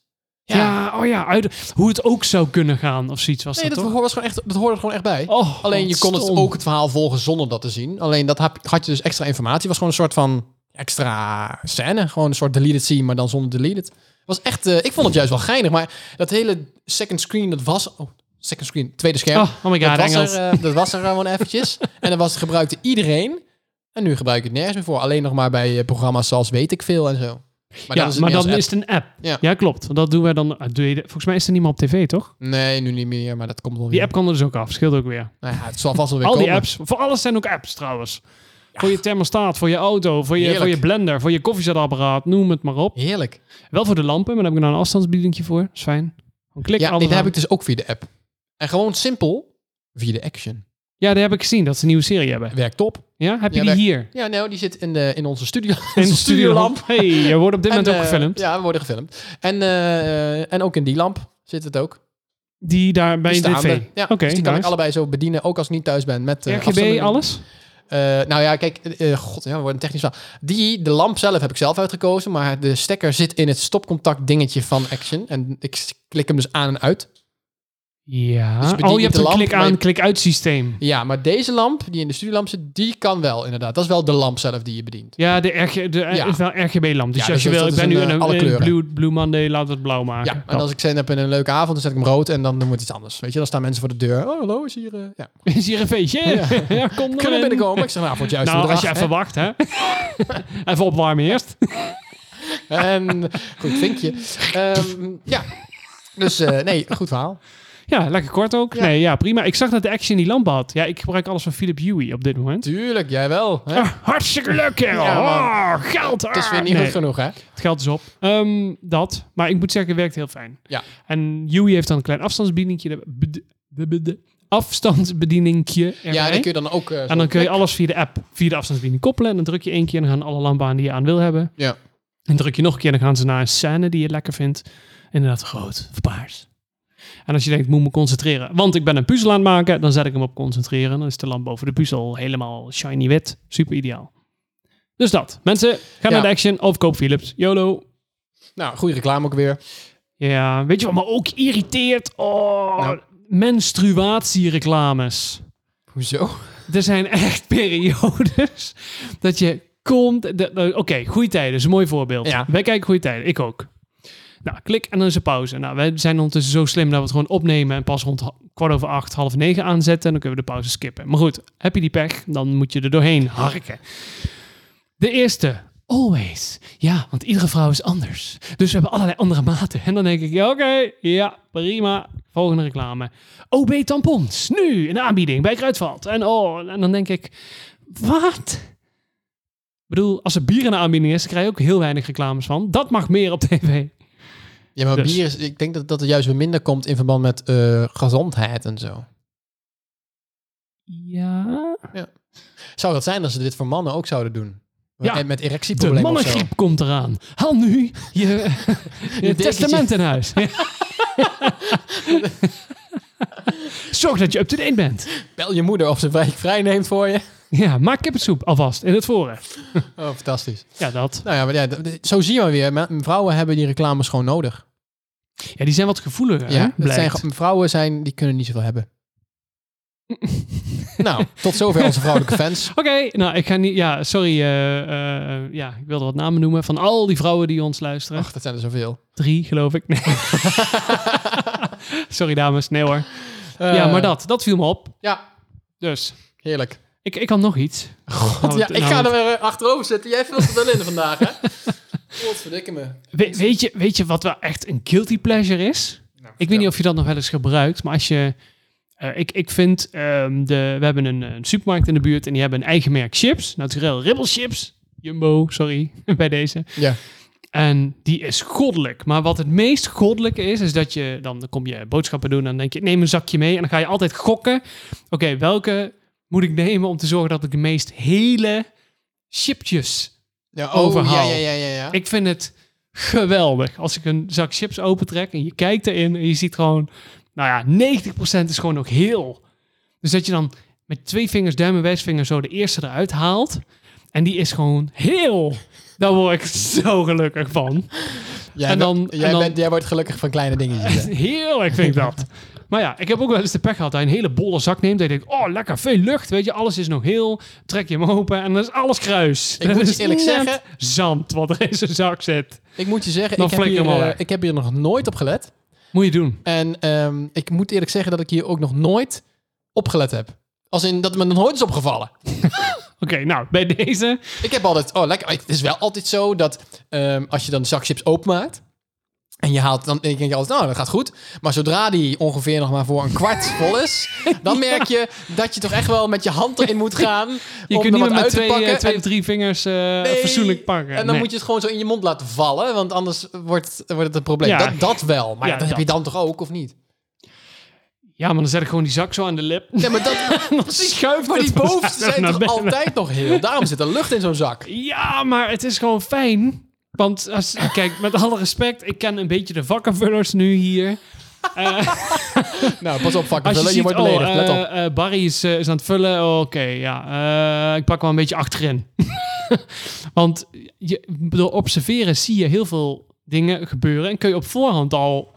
[SPEAKER 2] Ja. oh ja, uit, hoe het ook zou kunnen gaan of zoiets was
[SPEAKER 1] Nee,
[SPEAKER 2] dat,
[SPEAKER 1] dat,
[SPEAKER 2] toch?
[SPEAKER 1] hoort was gewoon echt, dat hoorde er gewoon echt bij.
[SPEAKER 2] Oh,
[SPEAKER 1] Alleen
[SPEAKER 2] wat
[SPEAKER 1] je kon het
[SPEAKER 2] stom.
[SPEAKER 1] ook het verhaal volgen zonder dat te zien. Alleen dat hap- had je dus extra informatie. was gewoon een soort van extra scène. Gewoon een soort deleted scene, maar dan zonder deleted. Was echt, eh, ik vond het juist wel geinig. Maar dat hele second screen, dat was... Oh, second screen, tweede scherm.
[SPEAKER 2] Oh, oh my god,
[SPEAKER 1] dat, was
[SPEAKER 2] Engels.
[SPEAKER 1] er, eh, dat was er gewoon eventjes. en dat was, gebruikte iedereen. En nu gebruik ik het nergens meer voor. Alleen nog maar bij eh, programma's zoals Weet ik Veel en zo. Maar
[SPEAKER 2] ja,
[SPEAKER 1] dan is het
[SPEAKER 2] maar
[SPEAKER 1] meer als
[SPEAKER 2] dan
[SPEAKER 1] app.
[SPEAKER 2] is het een app. Ja,
[SPEAKER 1] Ja. Oh,
[SPEAKER 2] klopt. Want Dat doen wij dan. ah, doe je de- Volgens mij is er niet meer op tv, toch?
[SPEAKER 1] Nee, nu niet meer, maar dat komt wel weer.
[SPEAKER 2] Die app kan er dus ook af. Scheelt ook weer.
[SPEAKER 1] Nou ja, het zal vast wel weer
[SPEAKER 2] Al die
[SPEAKER 1] komen.
[SPEAKER 2] apps. Voor alles zijn ook apps trouwens. Voor je thermostaat, voor je auto, voor je, voor
[SPEAKER 1] Heerlijk.
[SPEAKER 2] je blender, voor je koffiezetapparaat, noem het maar op.
[SPEAKER 1] Heerlijk.
[SPEAKER 2] Wel voor de lampen, maar daar heb ik nou een afstandsbediening voor. Dat is fijn. Dan klik
[SPEAKER 1] Ja,
[SPEAKER 2] alles
[SPEAKER 1] nee, dat
[SPEAKER 2] aan.
[SPEAKER 1] heb ik dus ook via de app. En gewoon simpel via de action.
[SPEAKER 2] Ja, daar heb ik gezien dat ze een nieuwe serie hebben.
[SPEAKER 1] Werkt top.
[SPEAKER 2] Ja, heb je
[SPEAKER 1] Ja,
[SPEAKER 2] die
[SPEAKER 1] werkt-
[SPEAKER 2] hier?
[SPEAKER 1] Ja, nou, die zit in, de, in onze studio.
[SPEAKER 2] In de studiolamp. hey, je wordt op dit
[SPEAKER 1] En,
[SPEAKER 2] moment ook
[SPEAKER 1] eh,
[SPEAKER 2] gefilmd.
[SPEAKER 1] ja, we worden gefilmd. En, eh, en ook in die lamp zit het ook.
[SPEAKER 2] Die daar bij
[SPEAKER 1] Die
[SPEAKER 2] je
[SPEAKER 1] staande.
[SPEAKER 2] tv.
[SPEAKER 1] Ja,
[SPEAKER 2] Oké,
[SPEAKER 1] dus die kan ik
[SPEAKER 2] nice.
[SPEAKER 1] allebei zo bedienen, ook als ik niet thuis ben. Met, eh,
[SPEAKER 2] RGB,
[SPEAKER 1] afstanden.
[SPEAKER 2] alles?
[SPEAKER 1] Eh, nou ja, kijk, eh, eh, god, ja, we worden technisch verhaal. Die, de lamp zelf heb ik zelf uitgekozen, maar de stekker zit in het stopcontact dingetje van Action. En ik s- klik hem dus aan en uit.
[SPEAKER 2] Ja.
[SPEAKER 1] Dus je bedient
[SPEAKER 2] oh, je
[SPEAKER 1] niet
[SPEAKER 2] hebt
[SPEAKER 1] de
[SPEAKER 2] een
[SPEAKER 1] lamp,
[SPEAKER 2] klik
[SPEAKER 1] maar
[SPEAKER 2] aan,
[SPEAKER 1] je-
[SPEAKER 2] klik uit systeem.
[SPEAKER 1] Ja, maar deze lamp, die in de studiolamp zit, die kan wel inderdaad. Dat is wel de lamp zelf die je bedient.
[SPEAKER 2] Ja, de RG, de,
[SPEAKER 1] Ja.
[SPEAKER 2] is wel RGB-lamp. Dus
[SPEAKER 1] Ja,
[SPEAKER 2] als je
[SPEAKER 1] dus
[SPEAKER 2] wil,
[SPEAKER 1] dat
[SPEAKER 2] ik
[SPEAKER 1] is
[SPEAKER 2] ben nu
[SPEAKER 1] een,
[SPEAKER 2] in
[SPEAKER 1] eh, alle
[SPEAKER 2] een, in
[SPEAKER 1] kleuren.
[SPEAKER 2] blue, blue Monday, laat het blauw maken.
[SPEAKER 1] Ja, en als ik zin heb in een leuke avond, dan zet ik hem rood en dan wordt iets anders. Weet je, dan staan mensen voor de deur. Oh, hallo, is hier... eh, ja.
[SPEAKER 2] Is hier een feestje? Ja,
[SPEAKER 1] Ja.
[SPEAKER 2] kom maar
[SPEAKER 1] Kunnen
[SPEAKER 2] in.
[SPEAKER 1] we binnenkomen? Ik zeg, nou, voor het juiste
[SPEAKER 2] Nou, als je
[SPEAKER 1] bedrag,
[SPEAKER 2] even wacht, hè. even opwarmen eerst.
[SPEAKER 1] hè. En goed vinkje. Ehm, ja, dus eh, nee, goed verhaal.
[SPEAKER 2] Ja, lekker kort ook.
[SPEAKER 1] Ja.
[SPEAKER 2] Nee, ja, prima. Ik zag dat de action die lamp had. Ja, ik gebruik alles van Philip Huey op dit moment.
[SPEAKER 1] Tuurlijk, jij wel. Hè?
[SPEAKER 2] Ah, hartstikke leuk, kerel.
[SPEAKER 1] Ja, man.
[SPEAKER 2] oh, geld.
[SPEAKER 1] Het is
[SPEAKER 2] ah.
[SPEAKER 1] weer niet
[SPEAKER 2] Nee,
[SPEAKER 1] goed genoeg, hè?
[SPEAKER 2] Het geld is op. Ehm, dat. Maar ik moet zeggen, het werkt heel fijn.
[SPEAKER 1] Ja.
[SPEAKER 2] En Huey heeft dan een klein afstandsbedieningje. er- bed- bed- bed- Afstandsbedieningje erbij.
[SPEAKER 1] Ja, die kun je dan ook... eh,
[SPEAKER 2] en dan kun je alles via de app, via de afstandsbediening koppelen. En dan druk je één keer en dan gaan alle lampen aan die je aan wil hebben.
[SPEAKER 1] Ja.
[SPEAKER 2] En druk je nog een keer en dan gaan ze naar een scène die je lekker vindt. Inderdaad, rood of paars. En als je denkt, moet me concentreren. Want ik ben een puzzel aan het maken, dan zet ik hem op concentreren. En dan is de lamp boven de puzzel helemaal shiny wit. Super ideaal. Dus dat. Mensen, ga
[SPEAKER 1] Ja.
[SPEAKER 2] naar de action of koop Philips. YOLO.
[SPEAKER 1] Nou, goede reclame ook weer.
[SPEAKER 2] Ja, weet je wat me ook irriteert? Oh,
[SPEAKER 1] Nou.
[SPEAKER 2] menstruatiereclames.
[SPEAKER 1] Hoezo?
[SPEAKER 2] Er zijn echt periodes dat je komt... de- de- Oké, goede tijden is een mooi voorbeeld.
[SPEAKER 1] Ja.
[SPEAKER 2] Wij kijken goede tijden, ik ook. Nou, klik en dan is er pauze. Nou, wij zijn ondertussen zo slim dat we het gewoon opnemen en pas rond ha- kwart over acht, half negen aanzetten. En dan kunnen we de pauze skippen. Maar goed, heb je die pech, dan moet je er doorheen harken. De eerste Always. Ja, want iedere vrouw is anders. Dus we hebben allerlei andere maten. En dan denk ik, ja, oké, ja, prima. Volgende reclame. OB-tampons, nu in de aanbieding bij Kruidvat. En, oh, en dan denk ik, wat? Ik bedoel, als er bier in de aanbieding is, dan krijg je ook heel weinig reclames van. Dat mag meer op tv.
[SPEAKER 1] Ja, maar
[SPEAKER 2] Dus.
[SPEAKER 1] bier is... Ik denk dat dat er juist weer minder komt in verband met eh, gezondheid en zo.
[SPEAKER 2] Ja.
[SPEAKER 1] Zou dat zijn als ze dit voor mannen ook zouden doen?
[SPEAKER 2] Ja.
[SPEAKER 1] En met
[SPEAKER 2] De
[SPEAKER 1] erectieproblemen of zo.
[SPEAKER 2] mannengriep komt eraan. Haal nu je, je
[SPEAKER 1] dekentje.
[SPEAKER 2] testament in huis. Zorg dat je up-to-date bent.
[SPEAKER 1] Bel je moeder of ze vrij, vrij neemt voor je.
[SPEAKER 2] Ja, maak kippensoep alvast in het voren.
[SPEAKER 1] Oh, fantastisch.
[SPEAKER 2] Ja, dat.
[SPEAKER 1] Nou ja, maar ja, d- d- zo zien we weer. Ma- Vrouwen hebben die reclames gewoon nodig.
[SPEAKER 2] Ja, die zijn wat gevoeliger,
[SPEAKER 1] Ja,
[SPEAKER 2] ja,
[SPEAKER 1] het zijn, ge- vrouwen zijn, die kunnen niet zoveel hebben. nou, tot zover onze vrouwelijke fans.
[SPEAKER 2] Oké, nou, ik ga niet... Ja, sorry. eh, eh, ja, ik wilde wat namen noemen van al die vrouwen die ons luisteren.
[SPEAKER 1] Ach, dat zijn er zoveel.
[SPEAKER 2] Drie, geloof ik. Nee. sorry, dames. Nee hoor. ja, maar dat. Dat viel me op.
[SPEAKER 1] Eh. Ja,
[SPEAKER 2] Dus,
[SPEAKER 1] heerlijk.
[SPEAKER 2] ik, ik had nog iets.
[SPEAKER 1] God,
[SPEAKER 2] Nou,
[SPEAKER 1] ja,
[SPEAKER 2] het-
[SPEAKER 1] ik
[SPEAKER 2] nou,
[SPEAKER 1] ga
[SPEAKER 2] het-
[SPEAKER 1] er weer eh, achterover zitten. Jij vult het wel in vandaag, hè? Godverdikke me.
[SPEAKER 2] We- weet, je, weet je wat wel echt een guilty pleasure is?
[SPEAKER 1] Nou,
[SPEAKER 2] ik weet niet of je dat nog wel eens gebruikt, maar als je... eh, ik, ik vind, ehm, de, we hebben een, eh, een supermarkt in de buurt en die hebben een eigen merk chips. Naturel Ribble Chips. Jumbo, sorry, bij deze.
[SPEAKER 1] Ja.
[SPEAKER 2] En die is goddelijk. Maar wat het meest goddelijke is, is dat je... Dan, dan kom je boodschappen doen en dan denk je, neem een zakje mee. En dan ga je altijd gokken. Oké, welke moet ik nemen om te zorgen dat ik de meest hele chipjes
[SPEAKER 1] ja oh,
[SPEAKER 2] Overhaal.
[SPEAKER 1] Ja, ja, ja, ja. ja.
[SPEAKER 2] ik vind het geweldig. Als ik een zak chips opentrek en je kijkt erin en je ziet gewoon, nou ja, 90% is gewoon nog heel. Dus dat je dan met twee vingers, duim en wijsvinger zo de eerste eruit haalt. En die is gewoon heel. Daar word ik zo gelukkig van.
[SPEAKER 1] jij,
[SPEAKER 2] en dan-
[SPEAKER 1] bent- jij,
[SPEAKER 2] en dan-
[SPEAKER 1] bent, jij wordt gelukkig van kleine dingetjes. hè?
[SPEAKER 2] Heerlijk vind ik dat. Maar ja, ik heb ook wel eens de pech gehad dat je een hele bolle zak neemt. Dat je denkt, oh lekker, veel lucht. Weet je, alles is nog heel. Trek je hem open en dan is alles kruis.
[SPEAKER 1] Ik
[SPEAKER 2] Dat
[SPEAKER 1] moet je
[SPEAKER 2] is
[SPEAKER 1] eerlijk
[SPEAKER 2] net
[SPEAKER 1] zeggen-
[SPEAKER 2] Zand wat er in zijn zak zit.
[SPEAKER 1] ik moet je zeggen,
[SPEAKER 2] Dan
[SPEAKER 1] ik heb,
[SPEAKER 2] flikker
[SPEAKER 1] hier,
[SPEAKER 2] hem al
[SPEAKER 1] eh,
[SPEAKER 2] weg.
[SPEAKER 1] ik heb hier nog nooit op gelet.
[SPEAKER 2] Moet je doen.
[SPEAKER 1] En ehm, ik moet eerlijk zeggen dat ik hier ook nog nooit op gelet heb. Als in dat het me nog nooit is opgevallen.
[SPEAKER 2] Oké, nou, bij deze
[SPEAKER 1] Ik heb altijd, oh lekker. Het is wel altijd zo dat ehm, als je dan de zak chips openmaakt. En je haalt, dan denk je altijd, nou, dat gaat goed. Maar zodra die ongeveer nog maar voor een kwart vol is, dan merk je dat je toch echt wel met je hand erin moet gaan.
[SPEAKER 2] Je
[SPEAKER 1] om
[SPEAKER 2] kunt
[SPEAKER 1] er
[SPEAKER 2] niet
[SPEAKER 1] wat
[SPEAKER 2] meer met
[SPEAKER 1] uit
[SPEAKER 2] twee,
[SPEAKER 1] te pakken.
[SPEAKER 2] eh, twee
[SPEAKER 1] En-
[SPEAKER 2] of drie vingers eh
[SPEAKER 1] nee,
[SPEAKER 2] fatsoenlijk pakken.
[SPEAKER 1] En dan
[SPEAKER 2] Nee.
[SPEAKER 1] moet je het gewoon zo in je mond laten vallen, want anders wordt, wordt het een probleem.
[SPEAKER 2] Ja.
[SPEAKER 1] Dat, dat wel, maar
[SPEAKER 2] Ja,
[SPEAKER 1] dat, heb je
[SPEAKER 2] dat.
[SPEAKER 1] dan toch ook, of niet?
[SPEAKER 2] Ja, maar dan zet ik gewoon die zak zo aan de lip.
[SPEAKER 1] Nee, maar dat, precies.
[SPEAKER 2] Schuif
[SPEAKER 1] Maar die bovenste zijn
[SPEAKER 2] naar
[SPEAKER 1] toch
[SPEAKER 2] binnen.
[SPEAKER 1] altijd nog heel? Daarom zit er lucht in zo'n zak.
[SPEAKER 2] Ja, maar het is gewoon fijn. Want als, kijk, met alle respect, ik ken een beetje de vakkenvullers nu hier.
[SPEAKER 1] Nou, pas op,
[SPEAKER 2] Als je,
[SPEAKER 1] vakkenvullen. Je,
[SPEAKER 2] ziet,
[SPEAKER 1] wordt
[SPEAKER 2] oh,
[SPEAKER 1] beledigd, let
[SPEAKER 2] eh,
[SPEAKER 1] op.
[SPEAKER 2] eh, Barry is, eh, is aan het vullen. Oh, Oké, ja, eh, ik pak wel een beetje achterin. Want je, door observeren zie je heel veel dingen gebeuren. En kun je op voorhand al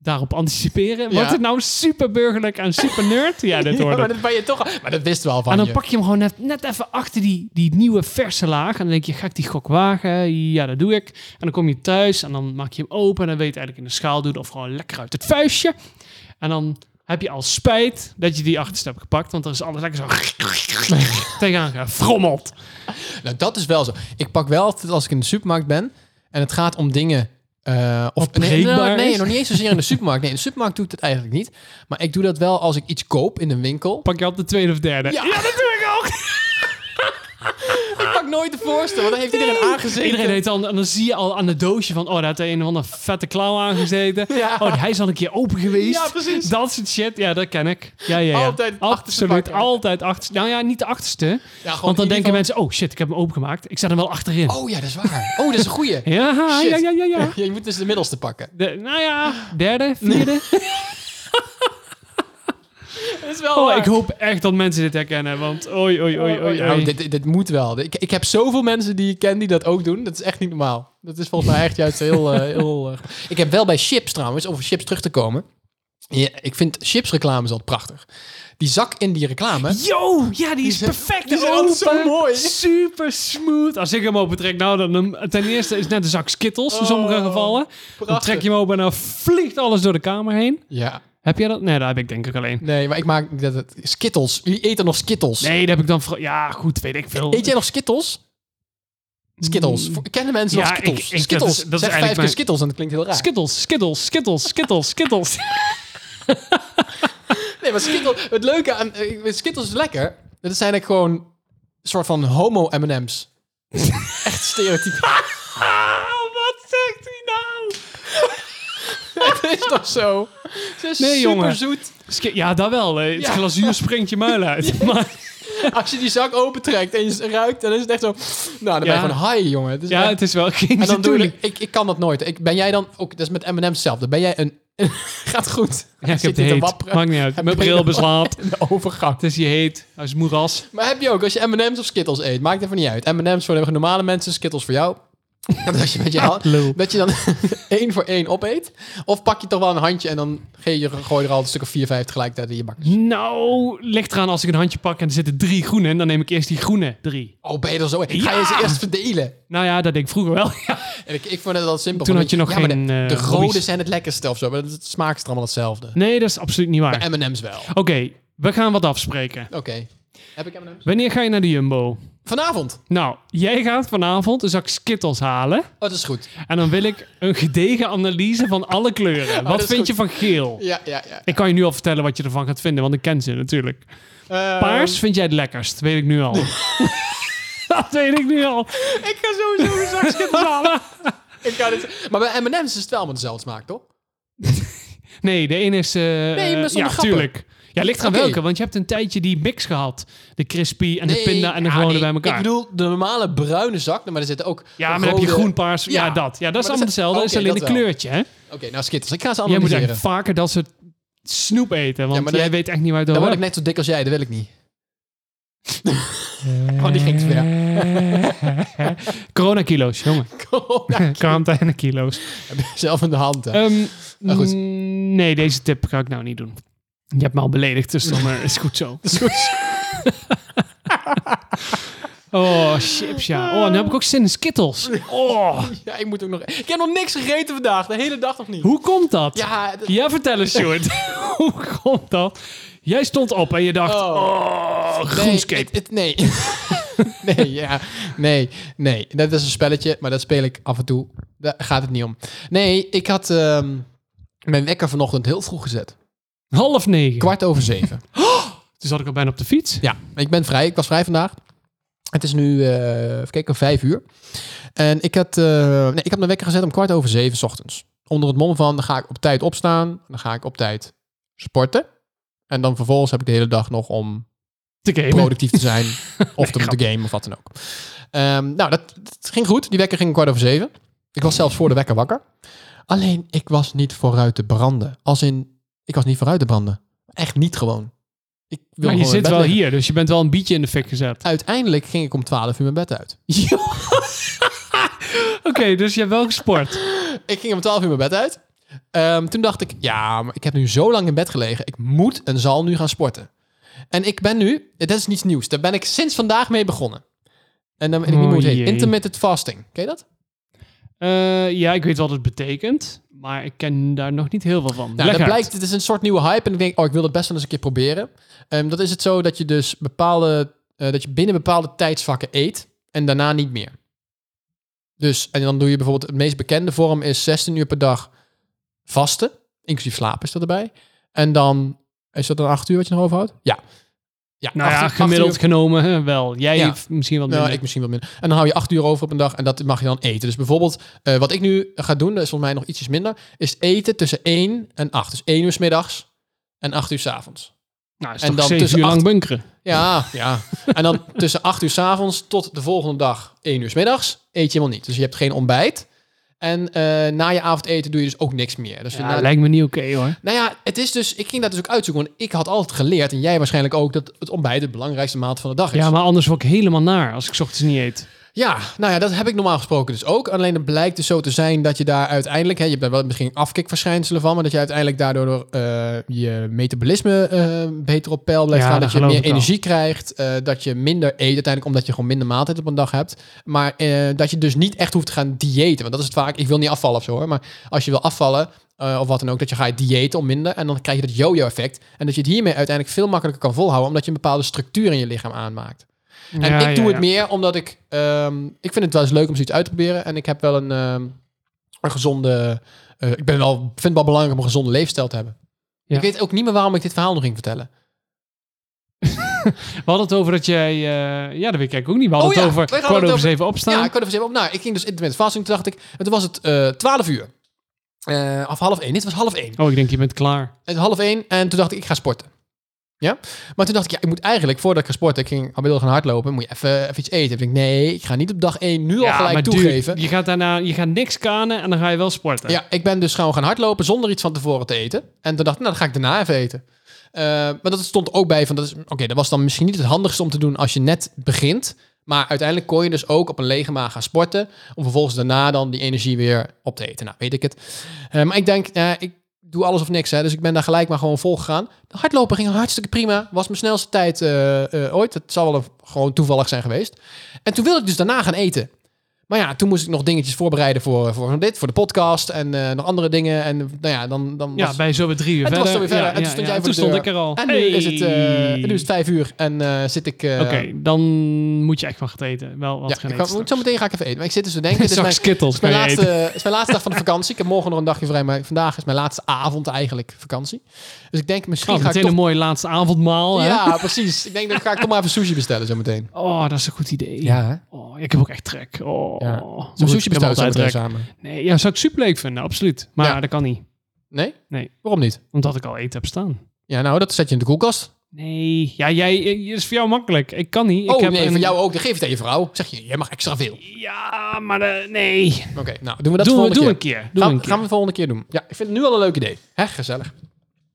[SPEAKER 2] daarop anticiperen. Wordt het nou super burgerlijk en super nerd? Ja, dit
[SPEAKER 1] Ja,
[SPEAKER 2] wordt
[SPEAKER 1] maar
[SPEAKER 2] het.
[SPEAKER 1] dat ben je toch... Maar dat wist wel van
[SPEAKER 2] En dan
[SPEAKER 1] je.
[SPEAKER 2] pak je hem gewoon net, net even achter die, die nieuwe verse laag. En dan denk je, ga ik die gok wagen? Ja, dat doe ik. En dan kom je thuis en dan maak je hem open. En dan weet je het eigenlijk in de schaal doen of gewoon lekker uit het vuistje. En dan heb je al spijt dat je die achterste hebt gepakt. Want er is alles lekker zo tegenaan gefrommeld.
[SPEAKER 1] Nou, dat is wel zo. Ik pak wel altijd als ik in de supermarkt ben en het gaat om dingen. eh, of
[SPEAKER 2] Wat
[SPEAKER 1] nee,
[SPEAKER 2] breekbaar
[SPEAKER 1] nou, nee,
[SPEAKER 2] is.
[SPEAKER 1] nog niet eens zozeer in de supermarkt. Nee, in de supermarkt doe ik dat eigenlijk niet. Maar ik doe dat wel als ik iets koop in een winkel.
[SPEAKER 2] Pak je op de tweede of derde.
[SPEAKER 1] Ja.
[SPEAKER 2] dat doe ik ook.
[SPEAKER 1] Ik pak nooit de voorste, want dan heeft iedereen aangezeten.
[SPEAKER 2] Iedereen heet dan, en dan zie je al aan het doosje van, oh, daar had een of andere vette klauw aangezeten.
[SPEAKER 1] Ja.
[SPEAKER 2] Oh, hij is al een keer open geweest.
[SPEAKER 1] Ja, precies.
[SPEAKER 2] Dat soort shit, ja, dat ken ik. Ja, ja, ja.
[SPEAKER 1] Altijd het achterste
[SPEAKER 2] Absoluut,
[SPEAKER 1] pakken.
[SPEAKER 2] altijd achterste. Nou ja, niet de achterste.
[SPEAKER 1] Ja, gewoon
[SPEAKER 2] want dan
[SPEAKER 1] in
[SPEAKER 2] denken
[SPEAKER 1] ieder
[SPEAKER 2] mensen, oh shit, ik heb hem opengemaakt. Ik zet hem wel achterin.
[SPEAKER 1] Oh ja, dat is waar. Oh, dat is een goeie.
[SPEAKER 2] Ja,
[SPEAKER 1] Shit.
[SPEAKER 2] ja, ja, ja, ja.
[SPEAKER 1] Je moet dus de middelste pakken.
[SPEAKER 2] De, nou ja, derde, vierde.
[SPEAKER 1] is wel
[SPEAKER 2] Oh, ik hoop echt dat mensen dit herkennen, want oei, oei, oei, oei. oei.
[SPEAKER 1] Nou, dit, dit moet wel. Ik, ik heb zoveel mensen die ik ken die dat ook doen. Dat is echt niet normaal. Dat is volgens mij echt juist heel... eh, heel eh, Ik heb wel bij chips trouwens, om op chips terug te komen. Ja, ik vind chipsreclames altijd prachtig. Die zak in die reclame.
[SPEAKER 2] Yo, ja, die is
[SPEAKER 1] zijn-
[SPEAKER 2] perfect
[SPEAKER 1] die zijn
[SPEAKER 2] open.
[SPEAKER 1] altijd zo mooi.
[SPEAKER 2] Super smooth. Als ik hem opentrek, nou, dan, dan- ten eerste is het net een zak skittles in sommige gevallen. Dan
[SPEAKER 1] Oh, prachtig.
[SPEAKER 2] trek je hem open en dan vliegt alles door de kamer heen.
[SPEAKER 1] Ja,
[SPEAKER 2] Heb jij dat? Nee, dat heb ik denk ik alleen.
[SPEAKER 1] nee, maar ik maak dat het... Skittles. Wie eet er nog Skittles?
[SPEAKER 2] Nee, dat heb ik dan... vro- Ja, goed, weet ik veel.
[SPEAKER 1] Eet jij nog Skittles? Skittles. Voor- Kennen mensen
[SPEAKER 2] Ja,
[SPEAKER 1] nog Skittles?
[SPEAKER 2] ik- ik- dat
[SPEAKER 1] Skittles.
[SPEAKER 2] is- dat
[SPEAKER 1] zeg
[SPEAKER 2] is
[SPEAKER 1] vijf
[SPEAKER 2] eigenlijk
[SPEAKER 1] keer
[SPEAKER 2] mijn-
[SPEAKER 1] Skittles en dat klinkt heel raar.
[SPEAKER 2] Skittles, Skittles, Skittles, Skittles, Skittles.
[SPEAKER 1] nee, maar Skittles... Het leuke aan... eh, Skittles is lekker. Dat zijn eigenlijk gewoon... Een soort van homo M&M's. Echt stereotyp. Ah,
[SPEAKER 2] wat zegt hij nou?
[SPEAKER 1] Het is toch zo? Ze is
[SPEAKER 2] Nee,
[SPEAKER 1] super
[SPEAKER 2] jongen.
[SPEAKER 1] zoet.
[SPEAKER 2] ja, dat wel. hè. Het
[SPEAKER 1] Ja.
[SPEAKER 2] glazuur springt je muil uit. Maar
[SPEAKER 1] Als je die zak opentrekt en je ruikt, dan is het echt zo... Nou, dan ben
[SPEAKER 2] Ja.
[SPEAKER 1] je gewoon high, jongen. Het is
[SPEAKER 2] ja,
[SPEAKER 1] echt-
[SPEAKER 2] het is wel geen
[SPEAKER 1] En dan doe
[SPEAKER 2] natuurlijk.
[SPEAKER 1] ik, ik, ik kan dat nooit. Ik, ben jij dan ook, dat is met M&M zelf, dan ben jij een... gaat goed.
[SPEAKER 2] Ja, ik
[SPEAKER 1] Zit
[SPEAKER 2] heb het
[SPEAKER 1] niet te
[SPEAKER 2] heet.
[SPEAKER 1] wapperen.
[SPEAKER 2] Maakt niet uit.
[SPEAKER 1] Heb
[SPEAKER 2] Mijn
[SPEAKER 1] je
[SPEAKER 2] bril
[SPEAKER 1] nog-
[SPEAKER 2] beslaat.
[SPEAKER 1] De overgang.
[SPEAKER 2] Het is hier heet. Hij is moeras.
[SPEAKER 1] Maar heb je ook, als je M&M's of Skittles eet, maakt even niet uit. M&M's voor de normale mensen, Skittles voor jou. Dat als je met je hand,
[SPEAKER 2] Lul.
[SPEAKER 1] dat je dan één voor één opeet. Of pak je toch wel een handje en dan geef je, gooi je er al een stuk of vier, vijf tegelijkertijd in je bak.
[SPEAKER 2] Nou, ligt eraan als ik een handje pak en er zitten drie groene in. Dan neem ik eerst die groene drie.
[SPEAKER 1] Oh, ben je er zo in? Ga je
[SPEAKER 2] Ja!
[SPEAKER 1] ze eerst verdelen?
[SPEAKER 2] Nou ja, dat deed ik vroeger wel. Ja.
[SPEAKER 1] En ik, ik vond het wel simpel.
[SPEAKER 2] Toen
[SPEAKER 1] Van,
[SPEAKER 2] had je nog
[SPEAKER 1] maar
[SPEAKER 2] geen,
[SPEAKER 1] de,
[SPEAKER 2] eh,
[SPEAKER 1] de rode
[SPEAKER 2] hobby's.
[SPEAKER 1] zijn het lekkerste of zo, maar het smaak is er allemaal hetzelfde.
[SPEAKER 2] Nee, dat is absoluut niet waar.
[SPEAKER 1] Maar M&M's wel. Oké.
[SPEAKER 2] Oké, we gaan wat afspreken.
[SPEAKER 1] Heb ik M&M's?
[SPEAKER 2] Wanneer ga je naar de Jumbo?
[SPEAKER 1] Vanavond.
[SPEAKER 2] Nou, jij gaat vanavond een zak Skittles halen.
[SPEAKER 1] Oh, dat is goed.
[SPEAKER 2] En dan wil ik een gedegen analyse van alle kleuren.
[SPEAKER 1] Oh, dat
[SPEAKER 2] Wat
[SPEAKER 1] is
[SPEAKER 2] vind
[SPEAKER 1] goed.
[SPEAKER 2] je van geel?
[SPEAKER 1] Ja, ja, ja.
[SPEAKER 2] Ik kan je nu al vertellen wat je ervan gaat vinden, want ik ken ze natuurlijk.
[SPEAKER 1] Eh,
[SPEAKER 2] Paars vind jij het lekkerst, weet ik nu al. dat weet ik nu al.
[SPEAKER 1] Ik ga sowieso een zak Skittles halen. ik ga dit... Maar bij M&M's is het wel met dezelfde smaak, toch?
[SPEAKER 2] Nee, de ene is... eh
[SPEAKER 1] maar
[SPEAKER 2] eh,
[SPEAKER 1] zonder
[SPEAKER 2] Ja,
[SPEAKER 1] grappen.
[SPEAKER 2] tuurlijk. Ja, ligt eraan
[SPEAKER 1] Oké.
[SPEAKER 2] welke, want je hebt een tijdje die mix gehad. De crispy en de pinda en de
[SPEAKER 1] ja,
[SPEAKER 2] gewone
[SPEAKER 1] nee,
[SPEAKER 2] bij elkaar.
[SPEAKER 1] Ik bedoel, de normale bruine zak, maar er zitten ook...
[SPEAKER 2] ja, maar dan heb je
[SPEAKER 1] rode-
[SPEAKER 2] groen, paars, ja,
[SPEAKER 1] Ja.
[SPEAKER 2] dat. Ja,
[SPEAKER 1] dat
[SPEAKER 2] dat is
[SPEAKER 1] is-
[SPEAKER 2] allemaal hetzelfde. dat is
[SPEAKER 1] oké,
[SPEAKER 2] alleen
[SPEAKER 1] dat
[SPEAKER 2] een
[SPEAKER 1] wel.
[SPEAKER 2] kleurtje, hè?
[SPEAKER 1] Oké, nou Skittles, ik ga ze
[SPEAKER 2] Jij moet
[SPEAKER 1] analyseren.
[SPEAKER 2] eigenlijk vaker dat soort snoep eten, want
[SPEAKER 1] Ja, maar
[SPEAKER 2] jij
[SPEAKER 1] dat-
[SPEAKER 2] weet echt niet waar het
[SPEAKER 1] Dan
[SPEAKER 2] over
[SPEAKER 1] word ik net zo dik als jij, dat wil ik niet. oh, die ging te ver.
[SPEAKER 2] Corona-kilo's, jongen.
[SPEAKER 1] Corona.
[SPEAKER 2] Quarantaine-kilo's.
[SPEAKER 1] Heb je Zelf in de hand, hè.
[SPEAKER 2] Ehm,
[SPEAKER 1] Nou, goed.
[SPEAKER 2] mm, Nee, deze tip ga ik nou niet doen. Je hebt me al beledigd, dus dan eh, is goed zo.
[SPEAKER 1] Dat is goed.
[SPEAKER 2] Oh, chips, ja. Oh, nu heb ik ook zin in Skittles. Oh,
[SPEAKER 1] Ja, ik moet ook nog... Ik heb nog niks gegeten vandaag, de hele dag nog niet.
[SPEAKER 2] hoe komt dat?
[SPEAKER 1] Ja, dat-
[SPEAKER 2] Ja, vertel eens, Sjoerd. Hoe komt dat? Jij stond op en je dacht,
[SPEAKER 1] Oh.
[SPEAKER 2] oh,
[SPEAKER 1] Nee,
[SPEAKER 2] groenscape.
[SPEAKER 1] het- het- nee. nee, ja. Nee, nee. Dat is een spelletje, maar dat speel ik af en toe. Daar gaat het niet om. Nee, ik had ehm, mijn wekker vanochtend heel vroeg gezet.
[SPEAKER 2] Half negen.
[SPEAKER 1] Kwart over zeven.
[SPEAKER 2] Toen zat ik al bijna op de fiets.
[SPEAKER 1] ja, ik ben vrij. Ik was vrij vandaag. Het is nu, eh even kijken, vijf uur. En ik had, eh, nee, ik had mijn wekker gezet om kwart over zeven 's ochtends. Onder het mom van, dan ga ik op tijd opstaan. Dan ga ik op tijd sporten. En dan vervolgens heb ik de hele dag nog om
[SPEAKER 2] Te gamen.
[SPEAKER 1] productief te zijn. of te
[SPEAKER 2] grap.
[SPEAKER 1] moeten gamen of wat dan ook. Ehm, nou, dat, dat ging goed. Die wekker ging om kwart over zeven. Ik was zelfs voor de wekker wakker. Alleen, ik was niet vooruit te branden. Als in, ik was niet vooruit te branden. Echt niet gewoon. Ik wil
[SPEAKER 2] Maar
[SPEAKER 1] gewoon
[SPEAKER 2] je
[SPEAKER 1] in
[SPEAKER 2] zit
[SPEAKER 1] bed
[SPEAKER 2] wel
[SPEAKER 1] liggen.
[SPEAKER 2] hier, dus je bent wel een bietje in de fik gezet.
[SPEAKER 1] Uiteindelijk ging ik om 12 uur mijn bed uit.
[SPEAKER 2] Oké, dus je hebt wel gesport.
[SPEAKER 1] Ik ging om 12 uur mijn bed uit. Ehm, toen dacht ik, ja, maar ik heb nu zo lang in bed gelegen. Ik moet en zal nu gaan sporten. En ik ben nu, dat is niets nieuws. Daar ben ik sinds vandaag mee begonnen. En dan weet ik niet
[SPEAKER 2] Oh,
[SPEAKER 1] meer hoe het heet.
[SPEAKER 2] jee.
[SPEAKER 1] Intermittent fasting. Ken je dat?
[SPEAKER 2] Eh, ja, ik weet wat het betekent, maar ik ken daar nog niet heel veel van.
[SPEAKER 1] Nou,
[SPEAKER 2] Leg
[SPEAKER 1] dat
[SPEAKER 2] uit.
[SPEAKER 1] blijkt, het is een soort nieuwe hype. En ik denk, oh, ik wil dat best wel eens een keer proberen. Ehm, dat is het zo dat je dus bepaalde, eh, dat je binnen bepaalde tijdsvakken eet en daarna niet meer. Dus, en dan doe je bijvoorbeeld, het meest bekende vorm is 16 uur per dag vasten. Inclusief slaap is dat erbij. En dan, is dat dan 8 uur wat je nog overhoudt? Ja. ja
[SPEAKER 2] Nou
[SPEAKER 1] acht
[SPEAKER 2] ja,
[SPEAKER 1] uur- acht
[SPEAKER 2] gemiddeld
[SPEAKER 1] uur-
[SPEAKER 2] genomen hè, wel. Jij
[SPEAKER 1] Ja.
[SPEAKER 2] heeft misschien wat
[SPEAKER 1] nou,
[SPEAKER 2] minder.
[SPEAKER 1] ik misschien wel minder. En dan hou je acht uur over op een dag en dat mag je dan eten. Dus bijvoorbeeld, eh, wat ik nu ga doen, dat is volgens mij nog ietsjes minder, is eten tussen 1 en 8. Dus 1 uur 's middags en 8 uur 's avonds.
[SPEAKER 2] nou, is
[SPEAKER 1] en
[SPEAKER 2] toch
[SPEAKER 1] dan
[SPEAKER 2] zeven
[SPEAKER 1] tussen
[SPEAKER 2] uur lang
[SPEAKER 1] acht-
[SPEAKER 2] bunkeren.
[SPEAKER 1] Ja, ja. En dan tussen 8 uur 's avonds tot de volgende dag 1 uur 's middags eet je helemaal niet. Dus je hebt geen ontbijt. En eh, na je avondeten doe je dus ook niks meer. Dus
[SPEAKER 2] Ja,
[SPEAKER 1] na-
[SPEAKER 2] lijkt me niet oké hoor.
[SPEAKER 1] nou ja, het is dus, ik ging dat dus ook uitzoeken. Want ik had altijd geleerd, en jij waarschijnlijk ook, dat het ontbijt de belangrijkste maand van de dag is.
[SPEAKER 2] Ja, maar anders word ik helemaal naar als ik 's ochtends niet eet.
[SPEAKER 1] Ja, nou ja, dat heb ik normaal gesproken dus ook. Alleen het blijkt dus zo te zijn dat je daar uiteindelijk... Hè, je hebt daar wel misschien afkikverschijnselen van... maar dat je uiteindelijk daardoor eh, je metabolisme eh, beter op peil blijft
[SPEAKER 2] Ja,
[SPEAKER 1] gaan.
[SPEAKER 2] dat
[SPEAKER 1] Dat je
[SPEAKER 2] geloof
[SPEAKER 1] meer
[SPEAKER 2] ik al.
[SPEAKER 1] energie krijgt. eh, dat je minder eet uiteindelijk omdat je gewoon minder maaltijd op een dag hebt. Maar eh, dat je dus niet echt hoeft te gaan diëten. Want dat is het vaak, ik wil niet afvallen of zo hoor. Maar als je wil afvallen eh, of wat dan ook... dat je gaat diëten om minder en dan krijg je dat yo-yo effect. En dat je het hiermee uiteindelijk veel makkelijker kan volhouden... omdat je een bepaalde structuur in je lichaam aanmaakt. En
[SPEAKER 2] Ja,
[SPEAKER 1] ik doe
[SPEAKER 2] ja,
[SPEAKER 1] het
[SPEAKER 2] ja.
[SPEAKER 1] meer omdat ik... ehm, ik vind het wel eens leuk om zoiets uit te proberen. En ik heb wel een, ehm, een gezonde... eh, ik ben wel, vind het wel belangrijk om een gezonde leefstijl te hebben.
[SPEAKER 2] Ja.
[SPEAKER 1] Ik weet ook niet meer waarom ik dit verhaal nog ging vertellen.
[SPEAKER 2] We hadden het over dat jij... eh, ja, dat weet ik eigenlijk ook niet. We hadden
[SPEAKER 1] Oh ja,
[SPEAKER 2] het over
[SPEAKER 1] wij hadden
[SPEAKER 2] kwart
[SPEAKER 1] het
[SPEAKER 2] over
[SPEAKER 1] over-
[SPEAKER 2] zeven opstaan.
[SPEAKER 1] Ja, ik kon even zeggen, nou, ik ging dus intermittent fasting. Toen dacht ik, en toen was het eh 12 uur. Eh of half één. Dit was half één.
[SPEAKER 2] Oh, ik denk je bent klaar.
[SPEAKER 1] Het was half één en toen dacht ik, ik ga sporten. Ja? Maar toen dacht ik, ja, ik moet eigenlijk, voordat ik ga sporten, ik ging wil gaan hardlopen, moet je even, even iets eten. Toen dacht ik, nee, ik ga niet op dag één nu al gelijk
[SPEAKER 2] dude,
[SPEAKER 1] toegeven.
[SPEAKER 2] je gaat daarna je gaat niks kanen en dan ga je wel sporten.
[SPEAKER 1] ja, ik ben dus gewoon gaan hardlopen zonder iets van tevoren te eten. En toen dacht ik, nou, dan ga ik daarna even eten. Eh, maar dat stond ook bij van, dat is, oké, dat was dan misschien niet het handigste om te doen als je net begint. Maar uiteindelijk kon je dus ook op een lege maag gaan sporten. Om vervolgens daarna dan die energie weer op te eten. Nou, weet ik het. Eh, maar ik denk, eh, ik doe alles of niks. Hè, dus ik ben daar gelijk maar gewoon vol gegaan. De hardlopen ging hartstikke prima. Was mijn snelste tijd eh, eh, ooit. Het zal wel een- gewoon toevallig zijn geweest. En toen wilde ik dus daarna gaan eten. Maar ja, toen moest ik nog dingetjes voorbereiden voor, voor dit, voor de podcast en eh, nog andere dingen. En nou ja, dan, dan
[SPEAKER 2] Ja,
[SPEAKER 1] was-
[SPEAKER 2] bij zo weer drie uur
[SPEAKER 1] en toen
[SPEAKER 2] verder.
[SPEAKER 1] was het weer verder.
[SPEAKER 2] Ja,
[SPEAKER 1] en toen
[SPEAKER 2] ja,
[SPEAKER 1] stond
[SPEAKER 2] ja.
[SPEAKER 1] jij voor de
[SPEAKER 2] toen stond
[SPEAKER 1] deur.
[SPEAKER 2] ik er al.
[SPEAKER 1] En nu, is het, eh, nu is het vijf uur en eh, zit ik... eh,
[SPEAKER 2] Oké, dan moet je echt wel gaan eten. Wel wat
[SPEAKER 1] Ja,
[SPEAKER 2] gaan
[SPEAKER 1] ik
[SPEAKER 2] eten.
[SPEAKER 1] ga,
[SPEAKER 2] straks.
[SPEAKER 1] zo meteen ga ik even eten. Maar ik zit dus te denken, dit is
[SPEAKER 2] Zak
[SPEAKER 1] mijn,
[SPEAKER 2] Skittles
[SPEAKER 1] het is
[SPEAKER 2] kan
[SPEAKER 1] mijn,
[SPEAKER 2] je
[SPEAKER 1] laatste, het is mijn laatste dag van de vakantie. Ik heb morgen nog een dagje vrij, maar vandaag is mijn laatste avond eigenlijk vakantie. Dus ik denk misschien
[SPEAKER 2] Oh,
[SPEAKER 1] ga ik
[SPEAKER 2] meteen
[SPEAKER 1] toch...
[SPEAKER 2] een mooi laatste avondmaal. hè?
[SPEAKER 1] Ja, precies. Ik denk, dan ga ik toch maar even sushi bestellen zo meteen.
[SPEAKER 2] Oh, dat is een goed idee.
[SPEAKER 1] hè?
[SPEAKER 2] Oh, ik heb ook echt trek. Oh,
[SPEAKER 1] Ja.
[SPEAKER 2] Maar goed,
[SPEAKER 1] Zo'n
[SPEAKER 2] ik
[SPEAKER 1] sushi
[SPEAKER 2] heb
[SPEAKER 1] bestellen zo
[SPEAKER 2] altijd
[SPEAKER 1] meteen
[SPEAKER 2] trek.
[SPEAKER 1] samen.
[SPEAKER 2] Nee, ja, zou ik super leuk vinden, absoluut. Maar
[SPEAKER 1] Ja.
[SPEAKER 2] dat kan niet,
[SPEAKER 1] Nee?
[SPEAKER 2] Nee.
[SPEAKER 1] Waarom niet?
[SPEAKER 2] omdat ik al eten heb staan.
[SPEAKER 1] Ja, nou, dat zet je in de koelkast.
[SPEAKER 2] Nee, ja, jij eh, is voor jou makkelijk. Ik kan niet. ik
[SPEAKER 1] oh
[SPEAKER 2] heb
[SPEAKER 1] nee,
[SPEAKER 2] een-
[SPEAKER 1] voor jou ook. Dan geef het aan je vrouw. Zeg je, jij mag extra veel. Oké,
[SPEAKER 2] Ja, maar eh, nee.
[SPEAKER 1] nou, doen we dat de
[SPEAKER 2] Doe,
[SPEAKER 1] volgende
[SPEAKER 2] doe
[SPEAKER 1] keer.
[SPEAKER 2] een keer. Doe
[SPEAKER 1] gaan,
[SPEAKER 2] een keer.
[SPEAKER 1] gaan we de volgende keer doen. Ja, ik vind het nu al een leuk idee. Hè, gezellig.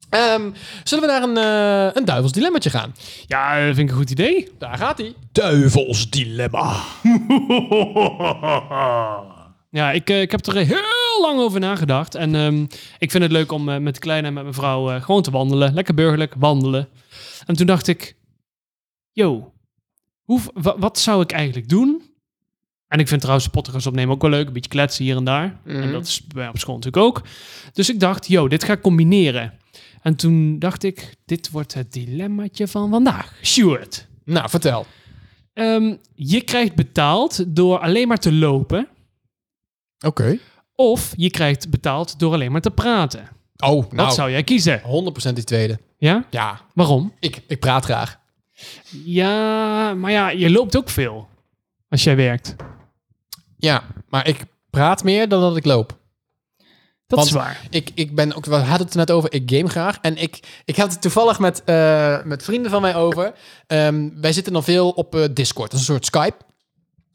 [SPEAKER 1] Ehm, zullen we naar een, eh, een duivels dilemmetje gaan?
[SPEAKER 2] Ja, dat vind ik een goed idee.
[SPEAKER 1] Daar gaat hij.
[SPEAKER 5] Duivels dilemma.
[SPEAKER 2] Ja, ik, eh, ik heb er heel lang over nagedacht. En ehm, ik vind het leuk om eh, met de kleine en met mijn vrouw eh, gewoon te wandelen. Lekker burgerlijk wandelen. En toen dacht ik, yo, hoe, wa- wat zou ik eigenlijk doen? En ik vind trouwens podcast opnemen ook wel leuk. Een beetje kletsen hier en daar. En dat is bij op school natuurlijk ook. Dus ik dacht, yo, dit ga ik combineren. En toen dacht ik, dit wordt het dilemmaatje van vandaag. Stuart.
[SPEAKER 1] Nou, vertel.
[SPEAKER 2] Ehm, je krijgt betaald door alleen maar te lopen.
[SPEAKER 1] Oké.
[SPEAKER 2] Of je krijgt betaald door alleen maar te praten.
[SPEAKER 1] Oh, nou,
[SPEAKER 2] Wat zou jij kiezen?
[SPEAKER 1] 100% die tweede.
[SPEAKER 2] Ja?
[SPEAKER 1] Ja,
[SPEAKER 2] Waarom?
[SPEAKER 1] ik, ik praat graag.
[SPEAKER 2] Ja, maar ja, je loopt ook veel. Als jij werkt.
[SPEAKER 1] Ja, maar ik praat meer dan dat ik loop.
[SPEAKER 2] Dat
[SPEAKER 1] Want-
[SPEAKER 2] is waar.
[SPEAKER 1] Ik, ik ben ook, we hadden het er net over, ik game graag. En ik, ik had het toevallig met, eh, met vrienden van mij over. Ehm, wij zitten dan veel op eh, Discord, dat is een soort Skype.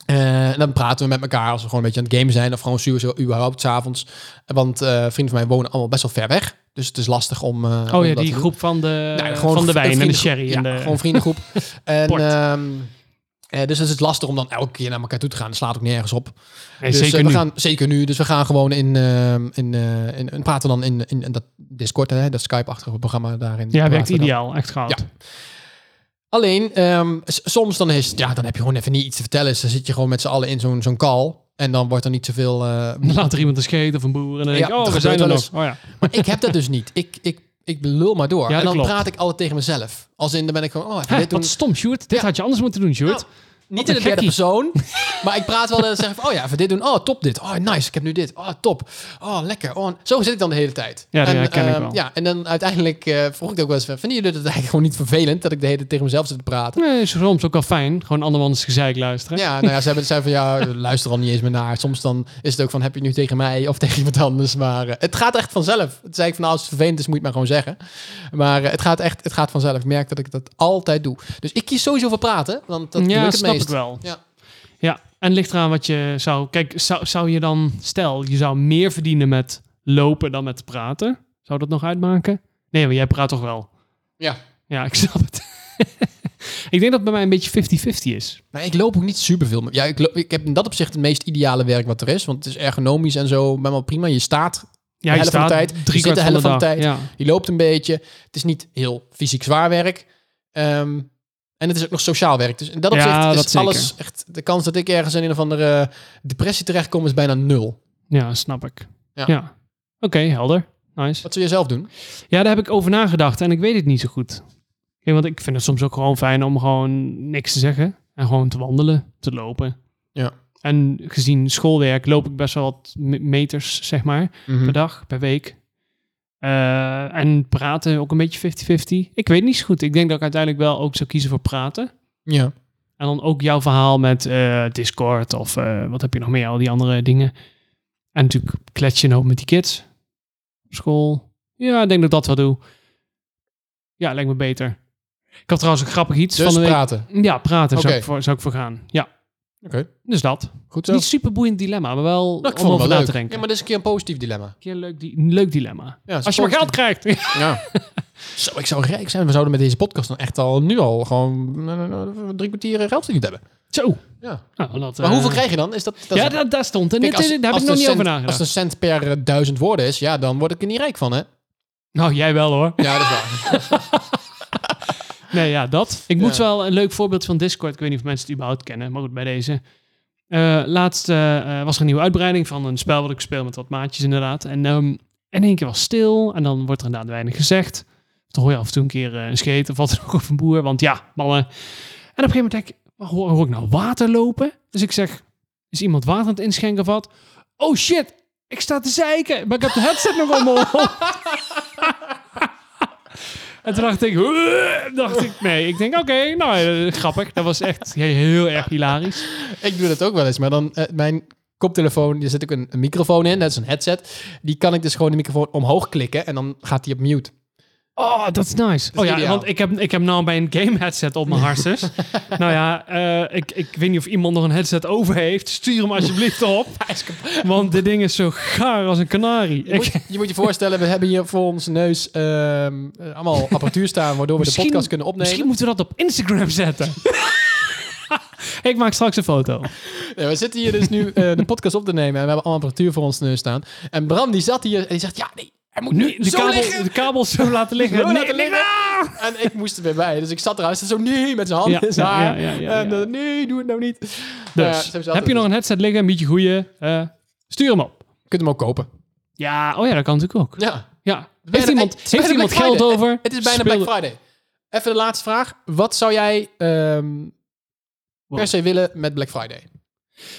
[SPEAKER 1] Eh, en dan praten we met elkaar als we gewoon een beetje aan het gamen zijn. Of gewoon sowieso überhaupt s'avonds. Want eh, vrienden van mij wonen allemaal best wel ver weg. Dus het is lastig om... eh, om
[SPEAKER 2] Oh ja,
[SPEAKER 1] dat te
[SPEAKER 2] die
[SPEAKER 1] doen.
[SPEAKER 2] groep van de,
[SPEAKER 1] Nou,
[SPEAKER 2] Eh, van de
[SPEAKER 1] een
[SPEAKER 2] wijn en de
[SPEAKER 1] vriendengroep.
[SPEAKER 2] sherry.
[SPEAKER 1] Ja,
[SPEAKER 2] en de,
[SPEAKER 1] gewoon vriendengroep. en,
[SPEAKER 2] Port.
[SPEAKER 1] ehm, eh, dus het is lastig om dan elke keer naar elkaar toe te gaan. Dat slaat ook nergens op.
[SPEAKER 2] Nee,
[SPEAKER 1] dus,
[SPEAKER 2] zeker
[SPEAKER 1] eh, we
[SPEAKER 2] nu.
[SPEAKER 1] Gaan, zeker nu. Dus we gaan gewoon in, ehm, in, eh, in, in praten dan in, in, in dat Discord, hè, dat Skype-achtige programma daarin.
[SPEAKER 2] ja,
[SPEAKER 1] praten
[SPEAKER 2] werkt
[SPEAKER 1] we dan.
[SPEAKER 2] ideaal. Echt goud.
[SPEAKER 1] Ja. Alleen, ehm, s- soms dan is het, ja, dan heb je gewoon even niet iets te vertellen. Dus dan zit je gewoon met z'n allen in zo'n zo'n call. En dan wordt er niet zoveel... eh,
[SPEAKER 2] Dan laat er iemand een scheet of een boer. En dan
[SPEAKER 1] Ja,
[SPEAKER 2] denk ik,
[SPEAKER 1] dat
[SPEAKER 2] oh, we
[SPEAKER 1] gebeurt
[SPEAKER 2] zijn er
[SPEAKER 1] wel
[SPEAKER 2] nog.
[SPEAKER 1] eens.
[SPEAKER 2] Oh, ja.
[SPEAKER 1] maar ik heb dat dus niet. Ik, ik, ik lul maar door.
[SPEAKER 2] Ja,
[SPEAKER 1] en
[SPEAKER 2] dat
[SPEAKER 1] dan
[SPEAKER 2] klopt.
[SPEAKER 1] praat ik altijd tegen mezelf. Als in, dan ben ik gewoon, oh, even
[SPEAKER 2] Hè,
[SPEAKER 1] dit doen.
[SPEAKER 2] wat stom, Sjoerd. Dit
[SPEAKER 1] Ja.
[SPEAKER 2] had je anders moeten doen, Sjoerd.
[SPEAKER 1] Nou, Niet
[SPEAKER 2] Wat
[SPEAKER 1] in
[SPEAKER 2] een
[SPEAKER 1] de derde
[SPEAKER 2] gekkie.
[SPEAKER 1] persoon. Maar ik praat wel en zeg van, oh ja, even dit doen. Oh, top dit. Oh, nice. Ik heb nu dit. Oh, top. Oh, lekker. Oh, zo zit ik dan de hele tijd.
[SPEAKER 2] Ja, dat
[SPEAKER 1] en,
[SPEAKER 2] herken ik
[SPEAKER 1] ehm,
[SPEAKER 2] wel.
[SPEAKER 1] Ja, en dan uiteindelijk eh, vroeg ik ook wel eens, van, vinden jullie dat eigenlijk gewoon niet vervelend dat ik de hele tijd tegen mezelf zit te praten?
[SPEAKER 2] Nee, is soms ook wel fijn. Gewoon andermans gezeik luisteren.
[SPEAKER 1] Ja, nou ja, ze hebben het van, ja, luister al niet eens meer naar. Soms dan is het ook van, heb je nu tegen mij of tegen iemand anders? Maar eh, het gaat echt vanzelf. Het zei ik van, nou, als het vervelend is, moet je het maar gewoon zeggen. Maar eh, het gaat echt, het gaat vanzelf. Ik merk dat ik dat altijd doe. Dus ik kies sowieso voor praten, want dat doe
[SPEAKER 2] ja
[SPEAKER 1] ik het
[SPEAKER 2] snap
[SPEAKER 1] meest.
[SPEAKER 2] ik wel.
[SPEAKER 1] Ja.
[SPEAKER 2] Ja, en ligt eraan wat je zou... Kijk, zou, zou je dan... Stel, je zou meer verdienen met lopen dan met praten. Zou dat nog uitmaken? Nee, maar jij praat toch wel?
[SPEAKER 1] Ja.
[SPEAKER 2] Ja, ik snap het. ik denk dat het bij mij een beetje 50-50 is.
[SPEAKER 1] Maar Nou, ik loop ook niet superveel. meer. Ja, ik, loop, ik heb in dat opzicht het meest ideale werk wat er is. Want het is ergonomisch en zo. Maar wel prima. Je staat,
[SPEAKER 2] Ja,
[SPEAKER 1] helft van de tijd, je zit
[SPEAKER 2] kwart
[SPEAKER 1] de helft van de
[SPEAKER 2] dag.
[SPEAKER 1] tijd.
[SPEAKER 2] Ja.
[SPEAKER 1] je loopt een beetje. Het is niet heel fysiek zwaar werk. Ehm, en het is ook nog sociaal werk. Dus in dat
[SPEAKER 2] Ja,
[SPEAKER 1] opzicht is
[SPEAKER 2] dat zeker.
[SPEAKER 1] alles echt... De kans dat ik ergens in een of andere eh, depressie terechtkom is bijna nul.
[SPEAKER 2] ja, snap ik. Ja.
[SPEAKER 1] Ja.
[SPEAKER 2] Oké, helder. Nice.
[SPEAKER 1] Wat zou je zelf doen?
[SPEAKER 2] Ja, daar heb ik over nagedacht en ik weet het niet zo goed. Kijk, want ik vind het soms ook gewoon fijn om gewoon niks te zeggen. En gewoon te wandelen, te lopen.
[SPEAKER 1] Ja.
[SPEAKER 2] En gezien schoolwerk loop ik best wel wat me- meters, zeg maar,
[SPEAKER 1] Hm.
[SPEAKER 2] per dag, per week. Eh, en praten ook een beetje 50-50. Ik weet niet zo goed. Ik denk dat ik uiteindelijk wel ook zou kiezen voor praten.
[SPEAKER 1] Ja.
[SPEAKER 2] En dan ook jouw verhaal met eh, Discord of eh, wat heb je nog meer, al die andere dingen. En natuurlijk kletsen ook met die kids. Op school. Ja, ik denk dat ik dat wel doe. Ja, lijkt me beter. Ik had trouwens een grappig iets
[SPEAKER 1] Dus
[SPEAKER 2] van de week.
[SPEAKER 1] praten.
[SPEAKER 2] Ja, praten zou,
[SPEAKER 1] Oké.
[SPEAKER 2] ik voor, zou ik voor gaan. Ja.
[SPEAKER 1] Oké.
[SPEAKER 2] Dus dat.
[SPEAKER 1] Goed zo.
[SPEAKER 2] Niet super boeiend dilemma, maar wel
[SPEAKER 1] Nou, ik vond
[SPEAKER 2] om
[SPEAKER 1] het
[SPEAKER 2] over
[SPEAKER 1] wel
[SPEAKER 2] na
[SPEAKER 1] leuk.
[SPEAKER 2] te
[SPEAKER 1] Ja,
[SPEAKER 2] denken.
[SPEAKER 1] maar dit is een keer een positief dilemma.
[SPEAKER 2] Een keer een leuk, di- een leuk dilemma.
[SPEAKER 1] Ja, het is
[SPEAKER 2] Als je maar geld
[SPEAKER 1] positief.
[SPEAKER 2] krijgt.
[SPEAKER 1] Ja. Zo, ik zou rijk zijn. We zouden met deze podcast dan echt al nu al gewoon eh, drie kwartier geld verdiend hebben.
[SPEAKER 2] Zo.
[SPEAKER 1] Ja.
[SPEAKER 2] Nou, dat,
[SPEAKER 1] Maar
[SPEAKER 2] eh,
[SPEAKER 1] hoeveel krijg je dan? Is dat, dat
[SPEAKER 2] Ja,
[SPEAKER 1] is-
[SPEAKER 2] dat, daar stond. En
[SPEAKER 1] Kijk,
[SPEAKER 2] dit,
[SPEAKER 1] als-
[SPEAKER 2] dit- daar heb
[SPEAKER 1] als
[SPEAKER 2] ik
[SPEAKER 1] de
[SPEAKER 2] nog niet
[SPEAKER 1] cent-
[SPEAKER 2] over nagedacht.
[SPEAKER 1] Als het een cent per eh, duizend woorden is, ja, dan word ik er niet rijk van, hè?
[SPEAKER 2] Nou, jij wel hoor.
[SPEAKER 1] Ja, dat is waar.
[SPEAKER 2] Nee, ja, dat. Ik moet
[SPEAKER 1] Ja.
[SPEAKER 2] wel een leuk voorbeeld van Discord. Ik weet niet of mensen het überhaupt kennen, maar goed, bij deze. Eh, laatst eh, eh, was er een nieuwe uitbreiding van een spel wat ik speel met wat maatjes inderdaad. En ehm, in één keer was stil en dan wordt er inderdaad weinig gezegd. Dan hoor je af en toe een keer eh, een scheet of wat ook of een boer, want ja, mannen. En op een gegeven moment denk ik, hoor, hoor ik nou water lopen? Dus ik zeg, is iemand water aan het inschenken of wat? Oh shit, ik sta te zeiken, maar ik heb de headset nog allemaal op. En toen dacht ik, "Uah," dacht ik, nee, ik denk, oké, nou, eh, grappig. Dat was echt heel, heel erg hilarisch.
[SPEAKER 1] ik doe dat ook wel eens, maar dan eh, mijn koptelefoon, daar zit ook een, een microfoon in, dat is een headset. Die kan ik dus gewoon de microfoon omhoog klikken en dan gaat die op mute.
[SPEAKER 2] Oh, dat is nice.
[SPEAKER 1] is
[SPEAKER 2] oh ja,
[SPEAKER 1] ideaal.
[SPEAKER 2] want ik heb, ik heb nou bij een game headset op mijn harses. nou ja, eh, ik, ik weet niet of iemand nog een headset over heeft. Stuur hem alsjeblieft op. want dit ding is zo gaar als een kanarie.
[SPEAKER 1] Je,
[SPEAKER 2] Ik,
[SPEAKER 1] moet, je moet je voorstellen, we hebben hier voor ons neus ehm, eh, allemaal apparatuur staan, waardoor we de
[SPEAKER 2] Misschien-
[SPEAKER 1] podcast kunnen opnemen.
[SPEAKER 2] misschien moeten we dat op Instagram zetten. ik maak straks een foto.
[SPEAKER 1] Nee, we zitten hier dus nu eh, de podcast op te nemen en we hebben allemaal apparatuur voor ons neus staan. En Bram die zat hier en die zegt, ja, nee, hij moet nu
[SPEAKER 2] De
[SPEAKER 1] zo
[SPEAKER 2] kabel,
[SPEAKER 1] liggen.
[SPEAKER 2] de kabel zo laten liggen.
[SPEAKER 1] Zo
[SPEAKER 2] Nee,
[SPEAKER 1] laten
[SPEAKER 2] nee,
[SPEAKER 1] liggen.
[SPEAKER 2] ah!
[SPEAKER 1] En ik moest er weer bij. Dus ik zat eruit. Ze zo, nee, met zijn handen
[SPEAKER 2] Ja,
[SPEAKER 1] in zijn
[SPEAKER 2] ja,
[SPEAKER 1] haar.
[SPEAKER 2] ja, ja, ja,
[SPEAKER 1] en
[SPEAKER 2] ja.
[SPEAKER 1] eh, nee, doe het nou niet. Nou ja, ze hebben
[SPEAKER 2] Dus,
[SPEAKER 1] ze
[SPEAKER 2] heb je
[SPEAKER 1] altijd
[SPEAKER 2] nog
[SPEAKER 1] dus.
[SPEAKER 2] een headset liggen, een beetje goeie, eh, stuur hem op.
[SPEAKER 1] Je kunt hem ook kopen.
[SPEAKER 2] Ja, oh ja, dat kan natuurlijk ook.
[SPEAKER 1] Ja.
[SPEAKER 2] Ja.
[SPEAKER 1] Bijna-
[SPEAKER 2] Heeft iemand,
[SPEAKER 1] het is
[SPEAKER 2] heeft
[SPEAKER 1] bijna
[SPEAKER 2] iemand
[SPEAKER 1] Black
[SPEAKER 2] geld
[SPEAKER 1] Friday.
[SPEAKER 2] over?
[SPEAKER 1] Het is bijna
[SPEAKER 2] Speel-
[SPEAKER 1] Black Friday. Even de laatste vraag. Wat zou jij ehm,
[SPEAKER 2] Wow.
[SPEAKER 1] per se willen met Black Friday?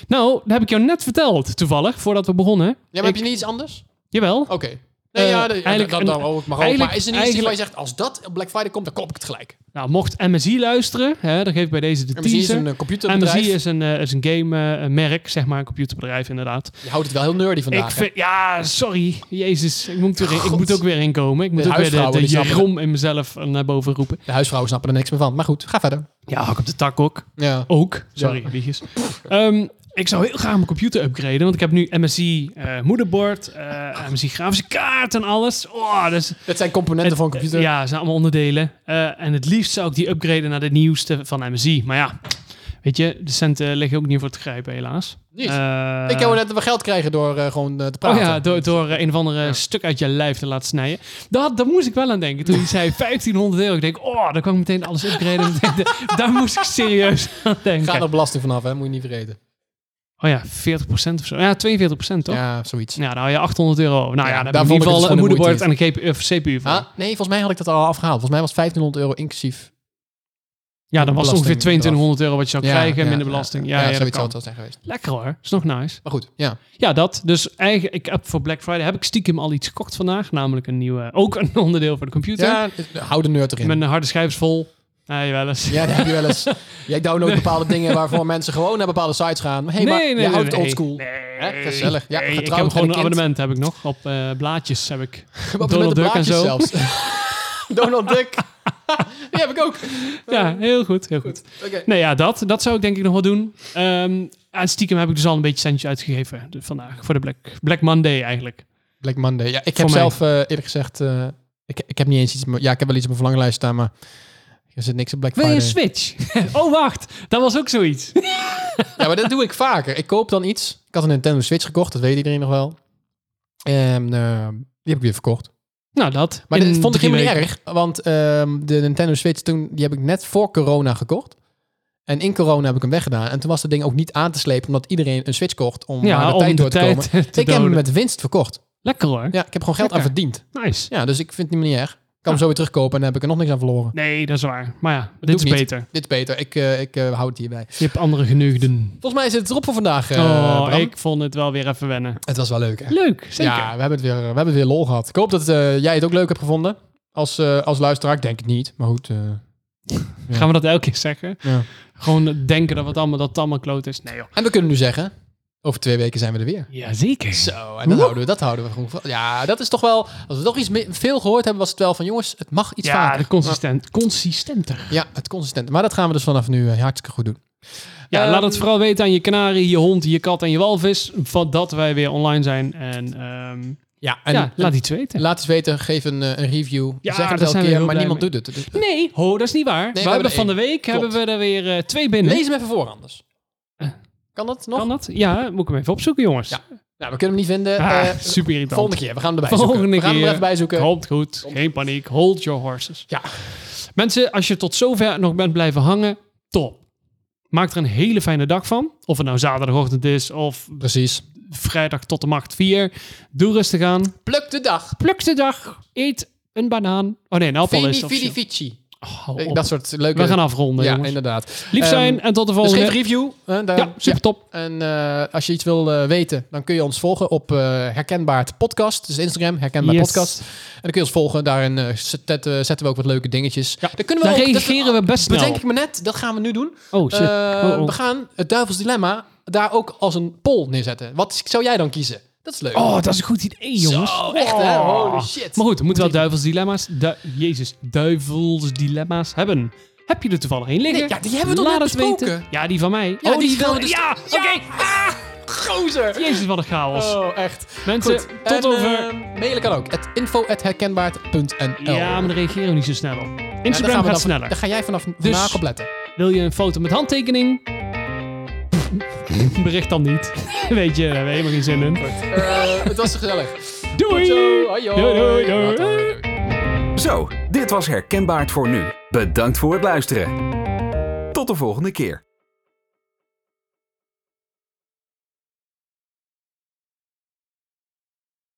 [SPEAKER 2] Nou, dat heb ik jou net verteld, toevallig, voordat we begonnen.
[SPEAKER 1] Ja, maar heb je niet iets anders?
[SPEAKER 2] Jawel.
[SPEAKER 1] Oké. Nee,
[SPEAKER 2] Eh,
[SPEAKER 1] ja, de-
[SPEAKER 2] eigenlijk
[SPEAKER 1] dat,
[SPEAKER 2] een-
[SPEAKER 1] dat, dat mag ook.
[SPEAKER 2] eigenlijk-
[SPEAKER 1] maar is er niet iets die
[SPEAKER 2] eigenlijk-
[SPEAKER 1] waar je zegt, als dat op Black Friday komt, dan koop ik het gelijk.
[SPEAKER 2] Nou, mocht MSI luisteren, hè, dan geef ik bij deze de
[SPEAKER 1] En misschien is
[SPEAKER 2] teaser.
[SPEAKER 1] het een eh, computerbedrijf.
[SPEAKER 2] MSI is een, eh, is een gamemerk, zeg maar, een computerbedrijf inderdaad.
[SPEAKER 1] Je houdt het wel heel nerdy vandaag.
[SPEAKER 2] ik
[SPEAKER 1] hè?
[SPEAKER 2] vind, ja, sorry. Jezus, ik moet, weer, ik
[SPEAKER 1] God.
[SPEAKER 2] moet ook weer inkomen. Ik moet ook weer de,
[SPEAKER 1] huisvrouwen,
[SPEAKER 2] de
[SPEAKER 1] die snappen
[SPEAKER 2] Jeroen in mezelf eh, naar boven roepen.
[SPEAKER 1] De huisvrouwen snappen er niks meer van. Maar goed, ga verder.
[SPEAKER 2] Ja, hak op de tak ook.
[SPEAKER 1] Ja.
[SPEAKER 2] Ook. Sorry,
[SPEAKER 1] Ja.
[SPEAKER 2] wiegjes. Ehm, ik zou heel graag mijn computer upgraden, want ik heb nu MSI eh, moederbord, eh, MSI grafische kaart en alles. Oh, dat is,
[SPEAKER 1] Dat zijn componenten van een
[SPEAKER 2] het-
[SPEAKER 1] computer.
[SPEAKER 2] Ja, het zijn allemaal onderdelen. Eh, en het liefst zou ik die upgraden naar de nieuwste van MSI. Maar ja, weet je, de centen liggen ook niet voor te grijpen, helaas.
[SPEAKER 1] Niet.
[SPEAKER 2] Eh,
[SPEAKER 1] ik kan wel net wat geld krijgen door eh, gewoon eh, te
[SPEAKER 2] Oh
[SPEAKER 1] praten.
[SPEAKER 2] ja, door, door eh, een of andere stuk uit je lijf te laten snijden. Dat, daar moest ik wel aan denken. Toen hij zei 1500 euro, ik denk, oh, dan kan ik meteen alles upgraden. daar moest ik serieus aan denken.
[SPEAKER 1] Gaat er belasting vanaf, hè? Moet je niet vergeten.
[SPEAKER 2] Oh ja, 40% of zo. Ja, 42% toch? Ja.
[SPEAKER 1] Ja, zoiets.
[SPEAKER 2] Nou, dan hou je 800 euro. over. Nou ja,
[SPEAKER 1] Ja,
[SPEAKER 2] dan
[SPEAKER 1] daar
[SPEAKER 2] heb je
[SPEAKER 1] vond
[SPEAKER 2] in ieder
[SPEAKER 1] ik
[SPEAKER 2] geval
[SPEAKER 1] het dus
[SPEAKER 2] een
[SPEAKER 1] gewoon
[SPEAKER 2] moederbord
[SPEAKER 1] de
[SPEAKER 2] en een eh, GP, of CPU van.
[SPEAKER 1] Ah, nee, volgens mij had ik dat al afgehaald. Volgens mij was 1500 euro inclusief.
[SPEAKER 2] ja, dan was het
[SPEAKER 1] belasting
[SPEAKER 2] ongeveer 2200 euro wat je zou
[SPEAKER 1] Ja,
[SPEAKER 2] krijgen.
[SPEAKER 1] ja,
[SPEAKER 2] minder
[SPEAKER 1] ja,
[SPEAKER 2] belasting.
[SPEAKER 1] Ja,
[SPEAKER 2] Ja, ja, dat
[SPEAKER 1] zoiets
[SPEAKER 2] kan.
[SPEAKER 1] zou het wel zijn geweest.
[SPEAKER 2] Lekker hoor. Is nog nice.
[SPEAKER 1] Maar goed, ja.
[SPEAKER 2] Ja, dat. Dus eigenlijk, ik heb voor Black Friday heb ik stiekem al iets gekocht vandaag. Namelijk een nieuwe, ook een onderdeel voor de computer.
[SPEAKER 1] ja hou de nerd erin.
[SPEAKER 2] Mijn harde schijf is vol. Nee, wel eens.
[SPEAKER 1] Ja, dat heb je wel eens. Jij downloadt bepaalde dingen waarvoor mensen gewoon naar bepaalde sites gaan. Maar hey, maar je houdt het oldschool.
[SPEAKER 2] Nee.
[SPEAKER 1] Hè, gezellig. Ja,
[SPEAKER 2] Nee, ik
[SPEAKER 1] getrouwd
[SPEAKER 2] heb
[SPEAKER 1] en een
[SPEAKER 2] gewoon een
[SPEAKER 1] kind.
[SPEAKER 2] abonnement heb ik nog. Op eh, blaadjes heb ik.
[SPEAKER 1] Op
[SPEAKER 2] Donald
[SPEAKER 1] de
[SPEAKER 2] Duck en
[SPEAKER 1] blaadjes
[SPEAKER 2] zo.
[SPEAKER 1] zelfs. Donald Duck. Die heb ik ook.
[SPEAKER 2] Ja, heel goed. Heel goed.
[SPEAKER 1] Oké.
[SPEAKER 2] Nee, ja, dat, dat zou ik denk ik nog wel doen. Ehm en stiekem heb ik dus al een beetje centje uitgegeven de- vandaag. Voor de Black, Black Monday eigenlijk.
[SPEAKER 1] Black Monday. Ja, ik
[SPEAKER 2] Voor
[SPEAKER 1] heb
[SPEAKER 2] mij.
[SPEAKER 1] zelf eh, eerlijk gezegd... eh, ik, ik heb niet eens iets... op mijn- Ja, ik heb wel iets op mijn verlanglijst staan, maar... Er zit niks op Black
[SPEAKER 2] Wil je
[SPEAKER 1] Friday.
[SPEAKER 2] een Switch? oh, wacht. Dat was ook zoiets.
[SPEAKER 1] Ja, maar dat doe ik vaker. Ik koop dan iets. Ik had een Nintendo Switch gekocht, dat weet iedereen nog wel. En eh, die heb ik weer verkocht.
[SPEAKER 2] nou, dat.
[SPEAKER 1] Maar
[SPEAKER 2] In
[SPEAKER 1] dat vond ik
[SPEAKER 2] drie
[SPEAKER 1] helemaal niet
[SPEAKER 2] weken.
[SPEAKER 1] erg, want ehm, de Nintendo Switch toen, die heb ik net voor corona gekocht. En in corona heb ik hem weggedaan. En toen was dat ding ook niet aan te slepen, omdat iedereen een Switch kocht om
[SPEAKER 2] Ja,
[SPEAKER 1] aan de
[SPEAKER 2] om
[SPEAKER 1] tijd
[SPEAKER 2] de
[SPEAKER 1] door te
[SPEAKER 2] tijd
[SPEAKER 1] komen.
[SPEAKER 2] te
[SPEAKER 1] ik heb hem
[SPEAKER 2] doden.
[SPEAKER 1] met winst verkocht.
[SPEAKER 2] Lekker hoor.
[SPEAKER 1] Ja, ik heb gewoon geld aan
[SPEAKER 2] Lekker.
[SPEAKER 1] verdiend.
[SPEAKER 2] Nice.
[SPEAKER 1] Ja, dus ik vind het niet meer erg. hem
[SPEAKER 2] Ah.
[SPEAKER 1] zo weer terugkopen en dan heb ik er nog niks aan verloren.
[SPEAKER 2] Nee, dat is waar. Maar ja,
[SPEAKER 1] Doe
[SPEAKER 2] dit is
[SPEAKER 1] ik niet.
[SPEAKER 2] beter.
[SPEAKER 1] Dit is beter. Ik, eh, ik eh, hou het hierbij.
[SPEAKER 2] Je hebt andere geneugden.
[SPEAKER 1] Volgens mij is het erop voor vandaag. eh,
[SPEAKER 2] oh,
[SPEAKER 1] Bram.
[SPEAKER 2] ik vond het wel weer even wennen.
[SPEAKER 1] Het was wel leuk, hè?
[SPEAKER 2] Leuk, zeker.
[SPEAKER 1] Ja, we hebben, het weer, we hebben het weer lol gehad. Ik hoop dat eh, jij het ook leuk hebt gevonden. Als, eh, als luisteraar, ik denk het niet. Maar goed, eh,
[SPEAKER 2] Gaan we dat elke keer zeggen?
[SPEAKER 1] Ja.
[SPEAKER 2] Gewoon denken dat, het allemaal, dat het allemaal kloot is. Nee joh.
[SPEAKER 1] En we kunnen nu zeggen, over twee weken zijn we er weer.
[SPEAKER 2] Jazeker.
[SPEAKER 1] Zo, en dat houden, we, dat houden we gewoon van. Ja, dat is toch wel... Als we toch iets me- veel gehoord hebben, was het wel van... Jongens, het mag iets
[SPEAKER 2] Ja,
[SPEAKER 1] vaker.
[SPEAKER 2] de consistent, consistenter.
[SPEAKER 1] Ja, het consistent. Maar dat gaan we dus vanaf nu eh, hartstikke goed doen.
[SPEAKER 2] Ja,
[SPEAKER 1] Ehm,
[SPEAKER 2] laat het vooral weten aan je kanarie, je hond, je kat en je walvis. Van dat wij weer online zijn. En, ehm,
[SPEAKER 1] Ja, en
[SPEAKER 2] ja, laat iets weten.
[SPEAKER 1] laat eens weten. Geef een, eh, een review.
[SPEAKER 2] Ja,
[SPEAKER 1] zeg
[SPEAKER 2] daar
[SPEAKER 1] het elke
[SPEAKER 2] zijn we
[SPEAKER 1] keer,
[SPEAKER 2] heel
[SPEAKER 1] maar
[SPEAKER 2] blij
[SPEAKER 1] niemand
[SPEAKER 2] mee.
[SPEAKER 1] doet het. Dus, eh,
[SPEAKER 2] Nee, ho, dat is niet waar.
[SPEAKER 1] we
[SPEAKER 2] we hebben
[SPEAKER 1] hebben
[SPEAKER 2] van de
[SPEAKER 1] één.
[SPEAKER 2] week
[SPEAKER 1] Klopt.
[SPEAKER 2] hebben we er weer eh, twee binnen.
[SPEAKER 1] Lees hem even voor anders. Kan dat nog?
[SPEAKER 2] Eh. Kan dat? Ja, moet ik hem even opzoeken, jongens.
[SPEAKER 1] Ja. Nou, we kunnen hem niet vinden.
[SPEAKER 2] Ah,
[SPEAKER 1] Eh,
[SPEAKER 2] super irritant.
[SPEAKER 1] volgende keer. We gaan hem erbij
[SPEAKER 2] Volgende
[SPEAKER 1] zoeken. We gaan hem
[SPEAKER 2] keer.
[SPEAKER 1] er even bij zoeken.
[SPEAKER 2] Komt goed. Geen paniek. Hold your horses.
[SPEAKER 1] Ja.
[SPEAKER 2] Mensen, als je tot zover nog bent blijven hangen, top. Maak er een hele fijne dag van. Of het nou zaterdagochtend is of
[SPEAKER 1] Precies.
[SPEAKER 2] vrijdag tot de macht 4. Doe rustig aan.
[SPEAKER 1] Pluk de dag.
[SPEAKER 2] Pluk de dag. Eet een banaan. Oh nee, een appel is
[SPEAKER 1] Vidi,
[SPEAKER 2] het.
[SPEAKER 1] vidi, vici.
[SPEAKER 2] Oh, hou
[SPEAKER 1] Eh,
[SPEAKER 2] op.
[SPEAKER 1] Dat soort leuke...
[SPEAKER 2] We gaan afronden,
[SPEAKER 1] Ja,
[SPEAKER 2] jongens.
[SPEAKER 1] inderdaad.
[SPEAKER 2] Lief zijn en tot de
[SPEAKER 1] Dus
[SPEAKER 2] volgende.
[SPEAKER 1] geef een review. hè, daar-
[SPEAKER 2] ja, super top.
[SPEAKER 1] Ja. En eh, als je iets wil eh, weten, dan kun je ons volgen op eh Herkenbaar het Podcast. Dus Instagram, Herkenbaar
[SPEAKER 2] Yes.
[SPEAKER 1] Podcast. En dan kun je ons volgen. Daarin eh, zet- eh, zetten we ook wat leuke dingetjes.
[SPEAKER 2] Ja,
[SPEAKER 1] daar kunnen
[SPEAKER 2] Daar
[SPEAKER 1] ook- dat-
[SPEAKER 2] reageren we best snel.
[SPEAKER 1] Bedenk ik me net, dat gaan we nu doen.
[SPEAKER 2] Oh shit.
[SPEAKER 1] Eh,
[SPEAKER 2] oh, oh.
[SPEAKER 1] We gaan het Duivels Dilemma daar ook als een poll neerzetten. Wat zou jij dan kiezen? Dat is leuk.
[SPEAKER 2] Oh, dat is een goed idee, jongens. Oh.
[SPEAKER 1] Zo, echt, hè? Holy shit.
[SPEAKER 2] Maar goed, we moeten wel duivelsdilemma's... Du Jezus, duivelsdilemma's hebben. Heb je er toevallig één liggen?
[SPEAKER 1] Nee, ja, die hebben we toch
[SPEAKER 2] Laat
[SPEAKER 1] net
[SPEAKER 2] het
[SPEAKER 1] besproken?
[SPEAKER 2] weten. Ja, die van mij.
[SPEAKER 1] Ja,
[SPEAKER 2] oh,
[SPEAKER 1] die
[SPEAKER 2] die,
[SPEAKER 1] gaan
[SPEAKER 2] wil...
[SPEAKER 1] we dus-
[SPEAKER 2] Ja, oké. Ah,
[SPEAKER 1] gozer.
[SPEAKER 2] Jezus, wat een chaos.
[SPEAKER 1] Oh, echt.
[SPEAKER 2] Mensen,
[SPEAKER 1] Goed,
[SPEAKER 2] tot
[SPEAKER 1] en,
[SPEAKER 2] over...
[SPEAKER 1] eh, mailen kan ook. Het info.herkenbaard.nl
[SPEAKER 2] ja, maar daar reageren we niet zo snel op. Instagram gaat
[SPEAKER 1] dan ehm,
[SPEAKER 2] sneller.
[SPEAKER 1] oh.
[SPEAKER 2] Dus-
[SPEAKER 1] Daar ga jij vanaf vandaag op letten.
[SPEAKER 2] Wil je een foto met handtekening? Bericht dan niet. Weet je, daar hebben we helemaal geen zin in.
[SPEAKER 1] Eh, het was gezellig.
[SPEAKER 2] Doei!
[SPEAKER 1] Zo, hoi, hoi.
[SPEAKER 2] Doei, doei, doei.
[SPEAKER 1] Later, doei.
[SPEAKER 3] Zo, dit was Herkenbaar voor nu. Bedankt voor het luisteren. Tot de volgende keer.